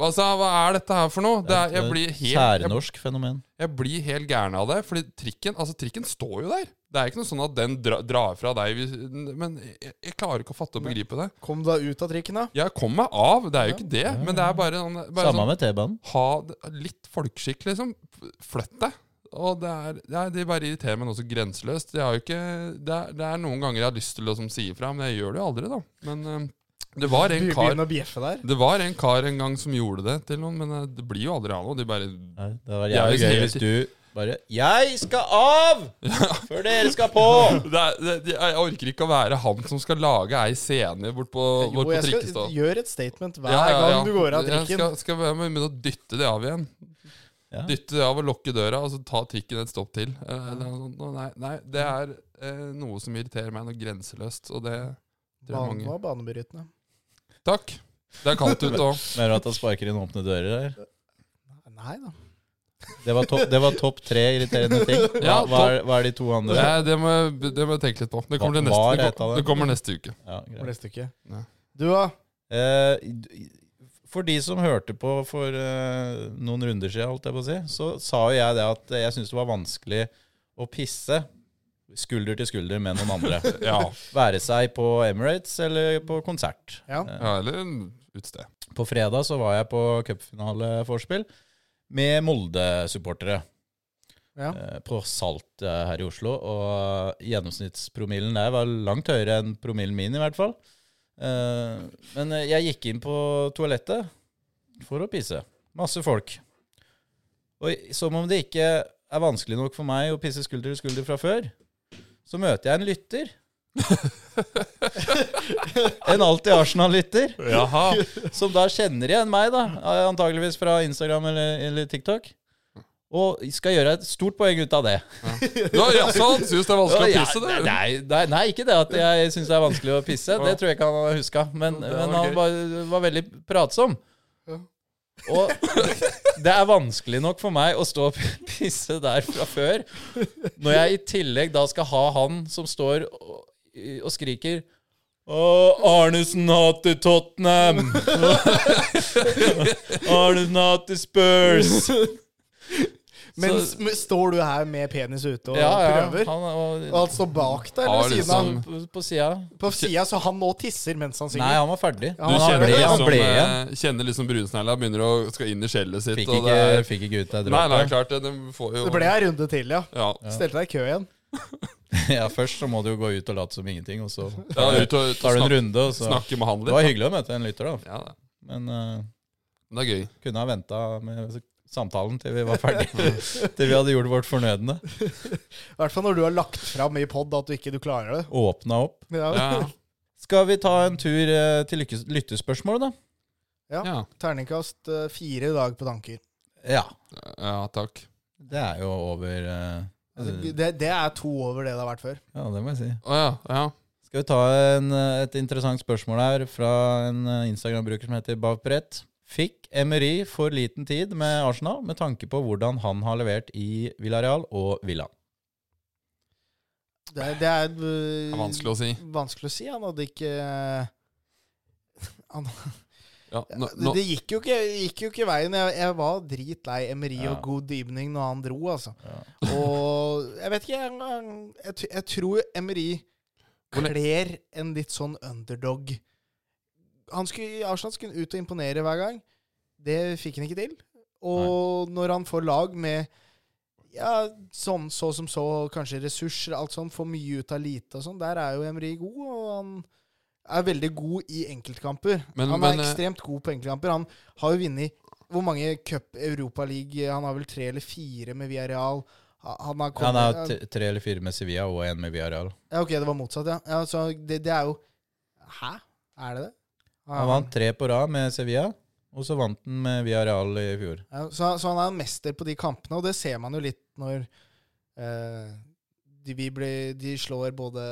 [SPEAKER 2] Altså, hva er dette her for noe? Det er, jeg blir helt jeg
[SPEAKER 1] Særnorsk fenomen.
[SPEAKER 2] jeg blir helt gæren av det, fordi trikken, altså, trikken står jo der. Det er ikke noe sånn at den dra, drar fra deg, hvis- men jeg, jeg klarer ikke å fatte og begripe det.
[SPEAKER 3] Kom da ut av trikken, da.
[SPEAKER 2] Jeg kom meg av, det er jo ikke det, men det er bare, sånn- bare
[SPEAKER 1] Samme
[SPEAKER 2] sånn,
[SPEAKER 1] med T-banen.
[SPEAKER 2] ha det- litt folkeskikk, liksom. Flytt deg. Og det er, det er, de bare irriterer meg noe så grenseløst. Jeg har jo ikke, det, er, det er noen ganger jeg har lyst til å liksom, si ifra, men jeg gjør det jo aldri, da. Men eh, det var en
[SPEAKER 3] Be-
[SPEAKER 2] kar...
[SPEAKER 3] Begynn å bjeffe der.
[SPEAKER 2] Det var en kar en gang som gjorde det til noen, men eh, det blir jo aldri av noe. De bare
[SPEAKER 1] Nei, Det var
[SPEAKER 2] Jeg er
[SPEAKER 1] jævlig
[SPEAKER 2] jo
[SPEAKER 1] gøy
[SPEAKER 2] helt-
[SPEAKER 1] hvis du bare 'Jeg skal av! Før dere skal på!'
[SPEAKER 2] det er, det, det- jeg orker ikke å være han som skal lage ei scene bort på,
[SPEAKER 3] Jo,
[SPEAKER 2] bort på
[SPEAKER 3] jeg skal
[SPEAKER 2] trikkestad.
[SPEAKER 3] gjøre et statement hver
[SPEAKER 2] Ja, ja, ja.
[SPEAKER 3] gang du går av
[SPEAKER 2] Jeg
[SPEAKER 3] trikken.
[SPEAKER 2] skal, skal være med begynne å dytte det av igjen.
[SPEAKER 1] Ja.
[SPEAKER 2] Dytte det av og lukke døra, og så ta trikken et stopp til. Eh, Eller noe sånt. Nei, nei, det er eh, noe som irriterer meg noe grenseløst, og det det er
[SPEAKER 3] Banen
[SPEAKER 2] mange.
[SPEAKER 3] var banebrytende.
[SPEAKER 2] Takk! Det er kaldt ute òg.
[SPEAKER 1] Mener du at han sparker inn åpne dører der?
[SPEAKER 3] Nei da.
[SPEAKER 1] Det var, topp- det var topp tre irriterende ting. Hva,
[SPEAKER 2] Ja,
[SPEAKER 1] hva, er, hva er de to andre?
[SPEAKER 2] Det, det, må jeg- det må jeg tenke litt på. Det kommer, til
[SPEAKER 1] Var
[SPEAKER 2] neste,
[SPEAKER 1] det
[SPEAKER 2] det
[SPEAKER 1] et av
[SPEAKER 2] kom-
[SPEAKER 1] dem?
[SPEAKER 2] det kommer neste uke.
[SPEAKER 1] Ja,
[SPEAKER 3] For
[SPEAKER 1] greit.
[SPEAKER 3] neste uke.
[SPEAKER 2] Nei.
[SPEAKER 3] Du, da?
[SPEAKER 1] Eh, d- for de som hørte på for eh, noen runder siden, holdt jeg på å si, så sa jo jeg det at jeg syntes det var vanskelig å pisse skulder til skulder med noen andre.
[SPEAKER 2] Ja,
[SPEAKER 1] Være seg på Emirates eller på konsert.
[SPEAKER 3] Ja.
[SPEAKER 1] Eh,
[SPEAKER 2] ja eller utsted.
[SPEAKER 1] på fredag så var jeg på cupfinaleforspill med Molde-supportere
[SPEAKER 3] Ja.
[SPEAKER 1] eh, på Salt eh, her i Oslo. Og gjennomsnittspromillen der var langt høyere enn promillen min, i hvert fall. Eh, Men eh, jeg gikk inn på toalettet for å pisse. Masse folk. Og i- som om det ikke er vanskelig nok for meg å pisse skulder til skulder fra før, så møter jeg en lytter. en alltid Arsenal-lytter
[SPEAKER 2] Jaha.
[SPEAKER 1] som da kjenner igjen meg, da, antageligvis fra Instagram eller, eller TikTok. Og skal gjøre et stort poeng ut av det.
[SPEAKER 2] Ja, Jaså, han syns det er vanskelig å
[SPEAKER 1] Ja,
[SPEAKER 2] pisse, det.
[SPEAKER 1] Nei, nei, nei, ikke det at jeg syns det er vanskelig å pisse.
[SPEAKER 2] Ja.
[SPEAKER 1] Det tror jeg ikke han har huska. Men,
[SPEAKER 2] det var
[SPEAKER 1] men han
[SPEAKER 2] gøy.
[SPEAKER 1] var, var veldig pratsom.
[SPEAKER 3] Ja.
[SPEAKER 1] Og det er vanskelig nok for meg å stå og pisse der fra før. Når jeg i tillegg da skal ha han som står og, og skriker Å, Arnesen hater Tottenham! Arnesen hater Spurs!
[SPEAKER 3] Men s- men står du her med penis ute og
[SPEAKER 1] Ja, ja.
[SPEAKER 3] prøver?
[SPEAKER 1] Han, og,
[SPEAKER 3] Og han står bak deg
[SPEAKER 2] Har
[SPEAKER 3] eller ved siden av?
[SPEAKER 2] liksom-
[SPEAKER 1] på, på sida.
[SPEAKER 3] På sida, så han nå tisser mens han
[SPEAKER 1] Nei,
[SPEAKER 3] synger?
[SPEAKER 1] han var ferdig.
[SPEAKER 3] Ja,
[SPEAKER 2] Du
[SPEAKER 1] han,
[SPEAKER 2] kjenner
[SPEAKER 1] ble,
[SPEAKER 2] det
[SPEAKER 1] han
[SPEAKER 2] som,
[SPEAKER 1] ble igjen.
[SPEAKER 2] eh, kjenner liksom brunsnegla begynner å skal inn i skjellet sitt.
[SPEAKER 1] Fikk
[SPEAKER 2] og
[SPEAKER 1] ikke,
[SPEAKER 2] det er,
[SPEAKER 1] fikk ikke ut deg
[SPEAKER 2] nei, nei,
[SPEAKER 1] dråpen.
[SPEAKER 2] klart det. Den får jo
[SPEAKER 3] Det ble en runde til, ja.
[SPEAKER 2] Ja.
[SPEAKER 3] Stelte deg i kø igjen.
[SPEAKER 1] Ja, først så må du jo gå ut og late som ingenting, og så
[SPEAKER 2] ja ut og, ut og
[SPEAKER 1] tar du en
[SPEAKER 2] snakke,
[SPEAKER 1] runde, og så
[SPEAKER 2] snakke med han
[SPEAKER 1] Det var
[SPEAKER 2] litt.
[SPEAKER 1] hyggelig å møte en lytter, da.
[SPEAKER 2] da. Ja, da.
[SPEAKER 1] Men eh,
[SPEAKER 2] det er gøy.
[SPEAKER 1] kunne ha venta med samtalen til vi var ferdige. til vi hadde gjort vårt fornødne.
[SPEAKER 3] I hvert fall når du har lagt fram i pod at du ikke du klarer det.
[SPEAKER 1] Åpna opp.
[SPEAKER 3] Ja.
[SPEAKER 2] Ja,
[SPEAKER 1] Skal vi ta en tur eh, til lykkes- lyttespørsmålet, da?
[SPEAKER 2] ja.
[SPEAKER 3] Terningkast eh, fire i dag på tanker.
[SPEAKER 1] Ja.
[SPEAKER 2] ja takk.
[SPEAKER 1] Det er jo over eh,
[SPEAKER 3] Altså,
[SPEAKER 2] Mm.
[SPEAKER 3] Det, det er to over det det har vært før.
[SPEAKER 1] Ja, det må jeg si.
[SPEAKER 2] Å ja. ja.
[SPEAKER 1] Skal vi ta en, eh, et interessant spørsmål her fra en eh, Instagram-bruker som heter Bavbrett. Fikk Emery for liten tid med Arsenal med tanke på hvordan han har levert i Villarreal og Villa?
[SPEAKER 3] Det, det er, eh,
[SPEAKER 2] Det er vanskelig å si.
[SPEAKER 3] vanskelig å si. Han hadde ikke han,
[SPEAKER 2] Ja, nå,
[SPEAKER 3] det,
[SPEAKER 2] nå,
[SPEAKER 3] det gikk jo ikke, gikk jo ikke veien. Jeg, jeg var dritlei Emery
[SPEAKER 1] Ja.
[SPEAKER 3] og Good Evening når han dro, altså.
[SPEAKER 1] Ja.
[SPEAKER 3] Og jeg vet ikke Jeg, jeg- jeg, t- jeg tror Emery
[SPEAKER 2] Hvor le-
[SPEAKER 3] kler en litt sånn underdog. Han skulle, Arsenal skulle ut og imponere hver gang. Det fikk han ikke til. Og når han får lag med ja, sånn så som så, kanskje ressurser, alt sånn, får mye ut av lite og sånn, der er jo Emery god, og han er veldig god i enkeltkamper.
[SPEAKER 2] Men-
[SPEAKER 3] han
[SPEAKER 2] men,
[SPEAKER 3] er
[SPEAKER 2] eh,
[SPEAKER 3] ekstremt god på enkeltkamper. Han har jo vunnet hvor mange cup Europa League Han har vel tre eller fire med Villarreal. Ha- Han har
[SPEAKER 1] Han
[SPEAKER 3] kommet
[SPEAKER 1] har t- tre eller fire med Sevilla og én med Villarreal.
[SPEAKER 3] Ja, ok, det var motsatt, ja. ja så det, det er jo Hæ? Er det det?
[SPEAKER 1] Han vant tre på rad med Sevilla, og så vant han med Villarreal i fjor.
[SPEAKER 3] Ja, så, så han er en mester på de kampene, og det ser man jo litt når eh, de, vi blir, de slår både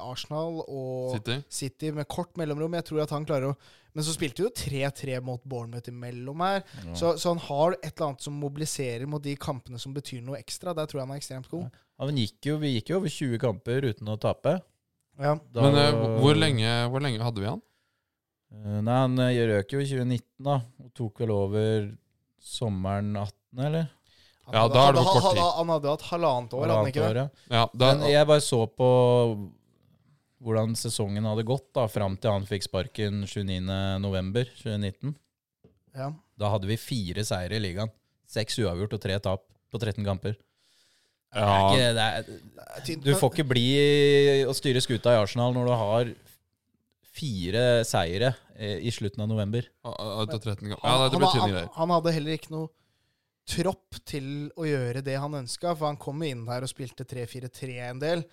[SPEAKER 3] Arsenal og City.
[SPEAKER 2] City.
[SPEAKER 3] med kort mellomrom. Jeg tror at han klarer å Men så spilte jo 3-3 mot Bournemouth imellom her.
[SPEAKER 1] Ja.
[SPEAKER 3] Så, så han har et eller annet som mobiliserer mot de kampene som betyr noe ekstra. Der tror jeg han er ekstremt god.
[SPEAKER 1] Han gikk jo, vi gikk jo over 20 kamper uten å tape.
[SPEAKER 3] Ja.
[SPEAKER 1] Da-
[SPEAKER 2] Men eh, hvor- hvor lenge, hvor lenge hadde vi han?
[SPEAKER 1] Eh, Nei, han eh, røk jo i 2019, da. Og tok vel over sommeren 18, eller?
[SPEAKER 3] Han
[SPEAKER 2] Ja,
[SPEAKER 3] hadde-
[SPEAKER 2] da er det
[SPEAKER 3] hadde-
[SPEAKER 2] på kort
[SPEAKER 3] hadde- Han hadde hatt halvannet år, hadde han ikke det?
[SPEAKER 1] Halvannet år, ja.
[SPEAKER 2] Ja, da,
[SPEAKER 1] Men jeg bare så på hvordan sesongen hadde gått da, fram til han fikk sparken 29.11.2019.
[SPEAKER 3] Ja.
[SPEAKER 1] Da hadde vi fire seire i ligaen. Seks uavgjort og tre tap på 13 kamper.
[SPEAKER 2] ja,
[SPEAKER 1] Ikke- det er,
[SPEAKER 3] Det er tynt,
[SPEAKER 1] Du
[SPEAKER 3] men-
[SPEAKER 1] får ikke bli og styre skuta i Arsenal når du har fire seire eh, i slutten av november.
[SPEAKER 2] ut av 13 ganger. Ja,
[SPEAKER 3] Han,
[SPEAKER 2] nei, det
[SPEAKER 3] han,
[SPEAKER 2] blir tynne
[SPEAKER 3] han,
[SPEAKER 2] greier.
[SPEAKER 3] han hadde heller ikke noe tropp til å gjøre det han ønska, for han kom jo inn der og spilte 3-4-3 en del.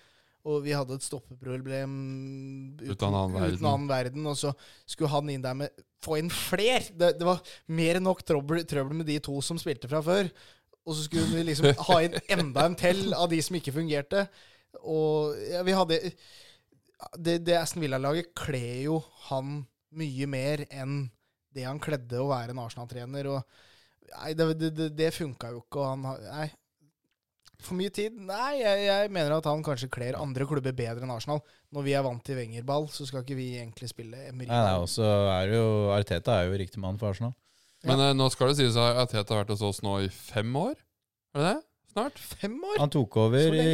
[SPEAKER 3] Og vi hadde et stoppeproblem uten,
[SPEAKER 2] Uten annen verden.
[SPEAKER 3] uten annen verden. Og så skulle han inn der med Få inn fler! Det, det var mer enn nok trøbbel, trøbbel med de to som spilte fra før. Og så skulle vi liksom ha inn enda en til av de som ikke fungerte. Og ja, vi hadde Det, det Aston Villa-laget kler jo han mye mer enn det han kledde å være en Arsenal-trener. og Nei, det, det, det, det funka jo ikke, og han har Nei. For mye tid? Nei, jeg, jeg mener at han kanskje kler andre klubber bedre enn Arsenal. Når vi er vant til Wenger-ball, så skal ikke vi egentlig spille Emery.
[SPEAKER 1] Nei, nei, og så er det jo Arteta er jo riktig mann for Arsenal.
[SPEAKER 2] Men eh, nå skal det sies at Tete har vært hos oss nå i fem år. Er det det? Snart?
[SPEAKER 3] Fem år?
[SPEAKER 1] Han tok
[SPEAKER 3] Så
[SPEAKER 1] over
[SPEAKER 3] lenge.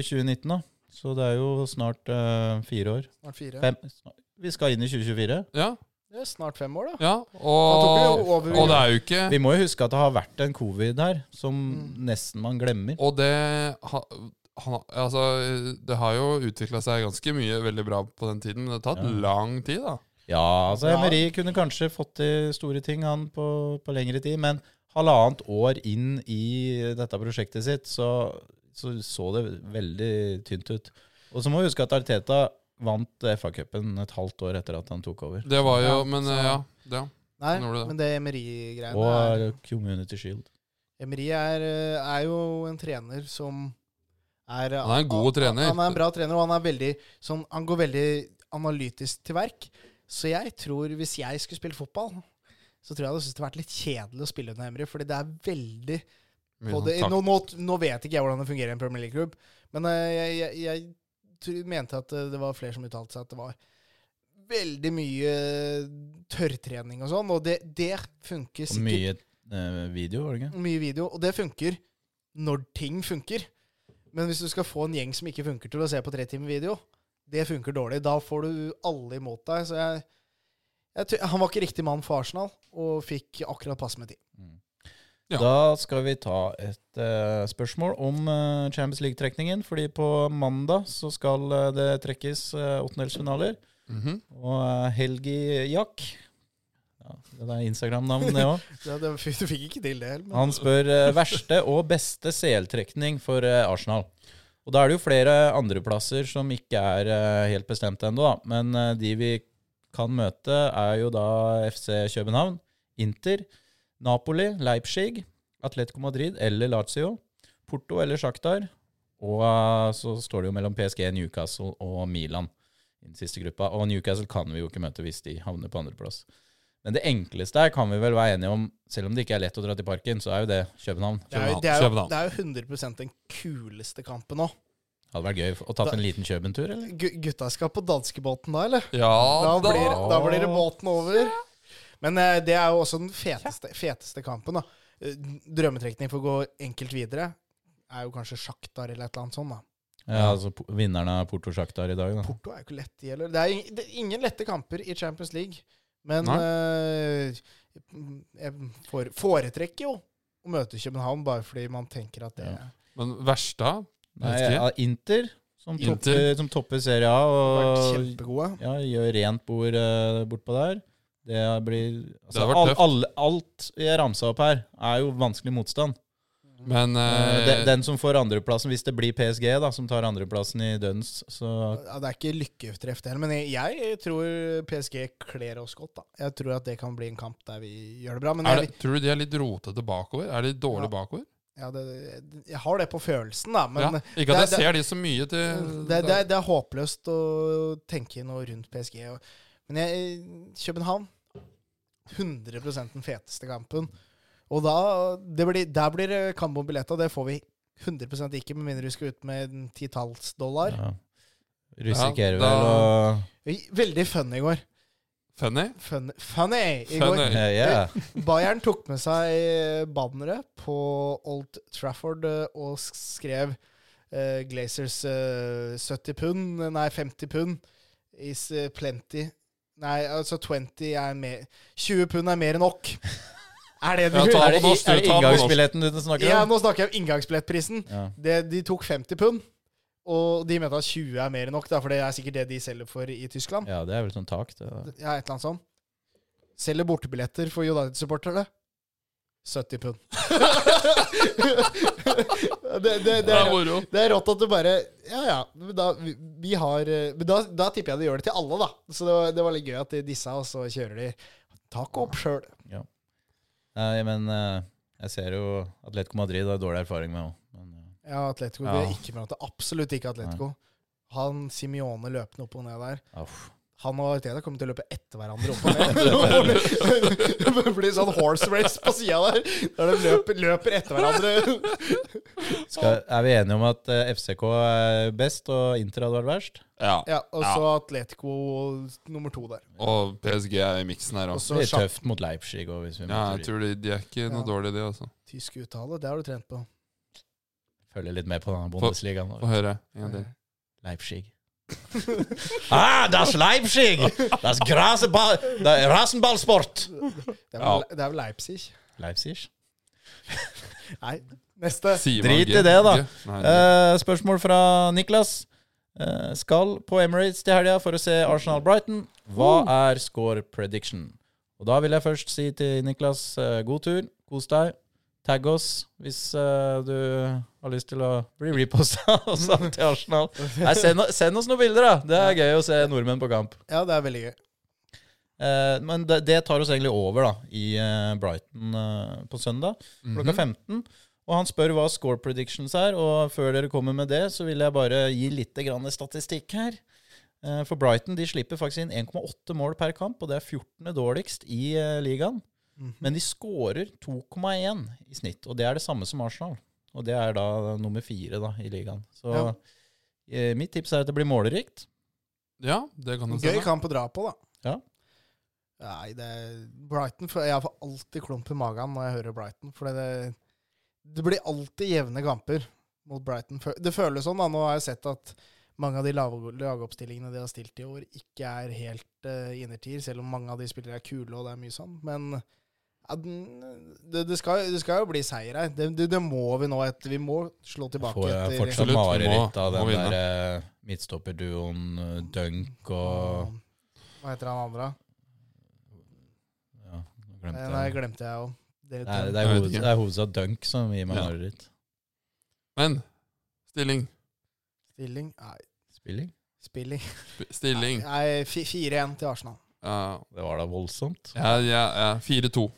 [SPEAKER 1] i 2019, da. Så det er jo snart eh, fire år.
[SPEAKER 3] Snart fire.
[SPEAKER 1] Fem. snart- Vi skal inn i 2024.
[SPEAKER 2] Ja.
[SPEAKER 3] Det er snart fem år, da.
[SPEAKER 2] ja.
[SPEAKER 3] Han tok
[SPEAKER 2] Og,
[SPEAKER 3] jo over
[SPEAKER 2] og det er jo ikke
[SPEAKER 1] Vi må jo huske at det har vært en covid her, som
[SPEAKER 3] Mm.
[SPEAKER 1] nesten man glemmer.
[SPEAKER 2] Og det ha- han, har- altså, det har jo utvikla seg ganske mye veldig bra på den tiden, men det har tatt
[SPEAKER 1] Ja.
[SPEAKER 2] lang tid, da.
[SPEAKER 1] Ja, altså
[SPEAKER 3] Ja.
[SPEAKER 1] Emery kunne kanskje fått til store ting han på, på lengre tid, men halvannet år inn i dette prosjektet sitt, så så, så det veldig tynt ut. Og så må vi huske at Arteta vant FA-cupen et halvt år etter at han tok over.
[SPEAKER 2] Det var jo
[SPEAKER 3] Ja,
[SPEAKER 2] Men
[SPEAKER 3] så-
[SPEAKER 2] eh, ja. Det,
[SPEAKER 3] Nei,
[SPEAKER 2] Når var det da?
[SPEAKER 3] men det Emery-greiene er
[SPEAKER 1] Og Community Shield.
[SPEAKER 3] Emery er, eh, er jo en trener som er eh,
[SPEAKER 2] Han er en god trener.
[SPEAKER 3] sånn,
[SPEAKER 2] mye
[SPEAKER 3] på
[SPEAKER 2] sånn
[SPEAKER 3] det.
[SPEAKER 2] takt-
[SPEAKER 3] Nå, nå, nå vet ikke jeg hvordan det fungerer i en Premier League-klubb, men eh, jeg, jeg, jeg tr- mente at eh, det var flere som uttalte seg at det var veldig mye tørrtrening og sånn, og det, det funker
[SPEAKER 1] Og
[SPEAKER 3] sikkert
[SPEAKER 1] mye eh, video, var det ikke?
[SPEAKER 3] mye video, og det funker når ting funker. Men hvis du skal få en gjeng som ikke funker til å se på tre timer video, det funker dårlig. Da får du alle imot deg. Så jeg, jeg tror- Han var ikke riktig mann for Arsenal, og fikk akkurat passe med tid.
[SPEAKER 2] Ja.
[SPEAKER 1] Da skal vi ta et eh, spørsmål om eh, Champions League-trekningen. Fordi på mandag så skal eh, det trekkes uh, åttendelsfinaler.
[SPEAKER 2] Mhm.
[SPEAKER 1] Og eh, Helgi Jack ja, Det er Instagram-navnet, det òg.
[SPEAKER 3] Det, det, du fikk ikke til det heller. men-
[SPEAKER 1] Han spør eh, verste og beste CL-trekning for eh, Arsenal. Og da er det jo flere andreplasser som ikke er eh, helt bestemt ennå, da. Men eh, de vi kan møte, er jo da FC København, Inter, Napoli, Leipzig, Atletico Madrid eller Lazio, Porto eller Shakhtar. Og eh, så står det jo mellom PSG, Newcastle og Milan i den siste gruppa. Og Newcastle kan vi jo ikke møte hvis de havner på andreplass. Men det enkleste her kan vi vel være enige om, selv om det ikke er lett å dra til parken, så er jo det København.
[SPEAKER 3] det, er, jo-
[SPEAKER 2] København,
[SPEAKER 3] det, er jo,
[SPEAKER 2] København.
[SPEAKER 3] det er jo 100 den kuleste kampen nå.
[SPEAKER 1] Hadde vært gøy å tatt en liten København-tur, eller?
[SPEAKER 3] Gu- Gutta skal på danskebåten da, eller?
[SPEAKER 2] Ja
[SPEAKER 3] Da
[SPEAKER 2] da!
[SPEAKER 3] blir, da blir det båten over. Men eh, det er jo også den feteste, feteste kampen. da. Eh, Drømmetrekning for å gå enkelt videre er jo kanskje sjaktar eller et eller annet sånt. da.
[SPEAKER 1] Ja, altså po- vinneren av Porto Shakhtar i dag, da.
[SPEAKER 3] Porto er jo ikke lett, de heller. Det er ing- det er ingen lette kamper i Champions League. Men
[SPEAKER 2] Nei.
[SPEAKER 3] eh, jeg fore- foretrekker jo å møte København, bare fordi man tenker at det
[SPEAKER 1] Ja.
[SPEAKER 2] Men verste
[SPEAKER 1] Nei,
[SPEAKER 2] vet ikke.
[SPEAKER 1] ja, Inter, som
[SPEAKER 2] Inter.
[SPEAKER 1] topper, som topper Serie A
[SPEAKER 3] har vært
[SPEAKER 1] og
[SPEAKER 3] kjempegode.
[SPEAKER 1] ja, gjør rent bord eh, bortpå der. Det blir altså,
[SPEAKER 2] hadde vært
[SPEAKER 1] all,
[SPEAKER 2] tøft.
[SPEAKER 1] alle- Alt jeg ramsa opp her, er jo vanskelig motstand.
[SPEAKER 2] Men
[SPEAKER 1] Eh,
[SPEAKER 2] eh,
[SPEAKER 1] den, den som får andreplassen, hvis det blir PSG, da, som tar andreplassen i Duns, så
[SPEAKER 3] Ja, det er ikke lykketreff, det heller. Men jeg, jeg tror PSG kler oss godt. da. Jeg tror at det kan bli en kamp der vi gjør det bra. Men
[SPEAKER 2] er
[SPEAKER 3] jeg,
[SPEAKER 2] det, tror du de er litt rotete bakover? Er de dårlige bakover?
[SPEAKER 3] Ja, det, jeg har det på følelsen, da. Men
[SPEAKER 2] Ja.
[SPEAKER 3] det,
[SPEAKER 2] Ikke at jeg
[SPEAKER 3] det-
[SPEAKER 2] ser de så mye til
[SPEAKER 3] det, det, er håpløst å tenke noe rundt PSG. og- Men jeg, København 100 den feteste kampen. Og da det blir, Der blir det kamp om billetta. Det får vi 100 ikke, med mindre vi skal ut med en titalls dollar.
[SPEAKER 1] ja. Risikerer
[SPEAKER 2] Ja, da-
[SPEAKER 1] vel å
[SPEAKER 3] Veldig fun i går.
[SPEAKER 2] Funny?
[SPEAKER 3] Fun, funny i
[SPEAKER 2] Funny.
[SPEAKER 3] går.
[SPEAKER 1] Eh, yeah.
[SPEAKER 3] Bayern tok med seg bannere på Old Trafford eh, og sk- skrev eh, Glazers eh, 70 pund, nei 50 pund is eh, plenty. Nei, altså 20 er mer 20 pund er mer enn nok. Er det det
[SPEAKER 2] Ja,
[SPEAKER 3] du
[SPEAKER 2] ta
[SPEAKER 1] Er
[SPEAKER 2] på
[SPEAKER 1] det,
[SPEAKER 2] norsk,
[SPEAKER 1] i- er det
[SPEAKER 2] ta på norsk.
[SPEAKER 1] inngangsbilletten du snakker
[SPEAKER 3] Ja,
[SPEAKER 1] om?
[SPEAKER 3] nå snakker jeg om inngangsbillettprisen.
[SPEAKER 1] Ja.
[SPEAKER 3] Det, de tok 50 pund, og de mente at 20 er mer enn nok, da, for det er sikkert det de selger for i Tyskland.
[SPEAKER 1] ja, det er vel sånn tak. Det, da.
[SPEAKER 3] Ja, et eller annet sånt. Selger bortebilletter for United-supportere. 70 pund. det, det, det,
[SPEAKER 2] Det er
[SPEAKER 3] er,
[SPEAKER 2] moro.
[SPEAKER 3] det er rått at du bare Ja, ja. men Da, vi, vi har, eh, men da, da tipper jeg de gjør det til alle, da. Så det var, det var litt gøy at de dissa, og så kjører de taco opp sjøl.
[SPEAKER 1] Nei, men eh, jeg ser jo Atletico Madrid har dårlig erfaring med òg. Men eh,
[SPEAKER 3] Ja, Atletico.
[SPEAKER 2] Ja.
[SPEAKER 1] eh,
[SPEAKER 3] Vi er ikke med på det. Absolutt ikke Atletico. Han Simione løpende opp og ned der.
[SPEAKER 1] aff.
[SPEAKER 3] Han og Arteta kommer til å løpe etter hverandre opp og ned. Det blir sånn horse race på sida der, der de løper, løper etter hverandre.
[SPEAKER 1] Skal, er vi enige om at eh, FCK er best, og Inter hadde vært verst?
[SPEAKER 2] Ja.
[SPEAKER 3] Ja, Og så Atletico nummer to der.
[SPEAKER 2] Og PSG er i miksen her
[SPEAKER 3] Og
[SPEAKER 2] òg.
[SPEAKER 1] Det
[SPEAKER 3] så
[SPEAKER 1] blir
[SPEAKER 3] Schaff,
[SPEAKER 1] tøft mot Leipzig òg, hvis vi
[SPEAKER 2] Ja,
[SPEAKER 1] møter
[SPEAKER 2] jeg tror de, de er ikke noe
[SPEAKER 3] Ja.
[SPEAKER 2] dårlige, de, altså.
[SPEAKER 3] tysk uttale, det har du trent på.
[SPEAKER 1] Følger litt med på denne Bundesligaen.
[SPEAKER 2] Få høre. En gang til.
[SPEAKER 1] Leipzig. ah, das Leipzig! Das Graseball... Das Rasenballsport!
[SPEAKER 3] Det er
[SPEAKER 2] Ja.
[SPEAKER 3] vel, det er vel Leipzig?
[SPEAKER 1] Leipzig.
[SPEAKER 3] Nei. Neste.
[SPEAKER 2] Sier man
[SPEAKER 1] Drit i
[SPEAKER 2] G-
[SPEAKER 1] det, da.
[SPEAKER 2] G? Nei, det-
[SPEAKER 1] Eh, spørsmål fra Niklas. Eh, skal på Emirates til helga for å se Arsenal-Brighton. Hva er score prediction? Og da vil jeg først si til Niklas eh, god tur, kos deg. Tagg oss hvis eh, du har lyst til å bli reposta og sammen til Arsenal. Nei, send, o- send oss noen bilder, da. Det er gøy å se nordmenn på kamp.
[SPEAKER 3] Ja, det er veldig gøy.
[SPEAKER 1] Eh, men det, det tar oss egentlig over da, i eh, Brighton eh, på søndag klokka 15. Og han spør hva score predictions er, og før dere kommer med det, så vil jeg bare gi litt grann statistikk her. Eh, For Brighton de slipper faktisk inn 1,8 mål per kamp, og det er 14. dårligst i eh, ligaen. Men de skårer 2,1 i snitt, og det er det samme som Arsenal. Og det er da nummer fire da, i ligaen. Så
[SPEAKER 3] Ja.
[SPEAKER 1] eh, mitt tips er at det blir målerikt.
[SPEAKER 2] Ja, det kan du se. da.
[SPEAKER 3] Gøy kamp å dra på, da.
[SPEAKER 1] Ja.
[SPEAKER 3] Nei, det er Brighton for, Jeg får alltid klump i magen når jeg hører Brighton. For det, det blir alltid jevne kamper mot Brighton. Fø- Det føles sånn, da. Nå har jeg sett at mange av de lave- lagoppstillingene de har stilt i år, ikke er helt uh, innertier, selv om mange av de spillere er kule, og det er mye sånn. Men ja, den, det, det, skal, det skal jo bli seier her. Det, det, det må vi nå etter. Vi må slå tilbake
[SPEAKER 1] Får jeg
[SPEAKER 3] etter
[SPEAKER 1] fortsatt
[SPEAKER 2] Absolutt, må-
[SPEAKER 1] mareritt av den
[SPEAKER 2] må vinne.
[SPEAKER 1] der eh, midtstopperduoen eh, Dunk og
[SPEAKER 3] Hva heter han andre? Eh,
[SPEAKER 1] ja, nå glemte
[SPEAKER 3] Nei,
[SPEAKER 1] jeg
[SPEAKER 3] nei,
[SPEAKER 1] det.
[SPEAKER 3] glemte jeg jo. Det er litt-
[SPEAKER 1] Nei, det er,
[SPEAKER 2] Jeg vet
[SPEAKER 1] hoved,
[SPEAKER 2] ikke.
[SPEAKER 1] det er hovedsak Dunk som gir meg
[SPEAKER 2] Ja.
[SPEAKER 1] mareritt.
[SPEAKER 2] Men stilling.
[SPEAKER 3] Stilling? Nei,
[SPEAKER 1] Spilling?
[SPEAKER 3] spilling.
[SPEAKER 2] Sp- Stilling.
[SPEAKER 3] Nei, fi- 4-1 til Arsenal.
[SPEAKER 2] Ja,
[SPEAKER 1] Det var da voldsomt.
[SPEAKER 2] ja, ja, ja. 4-2.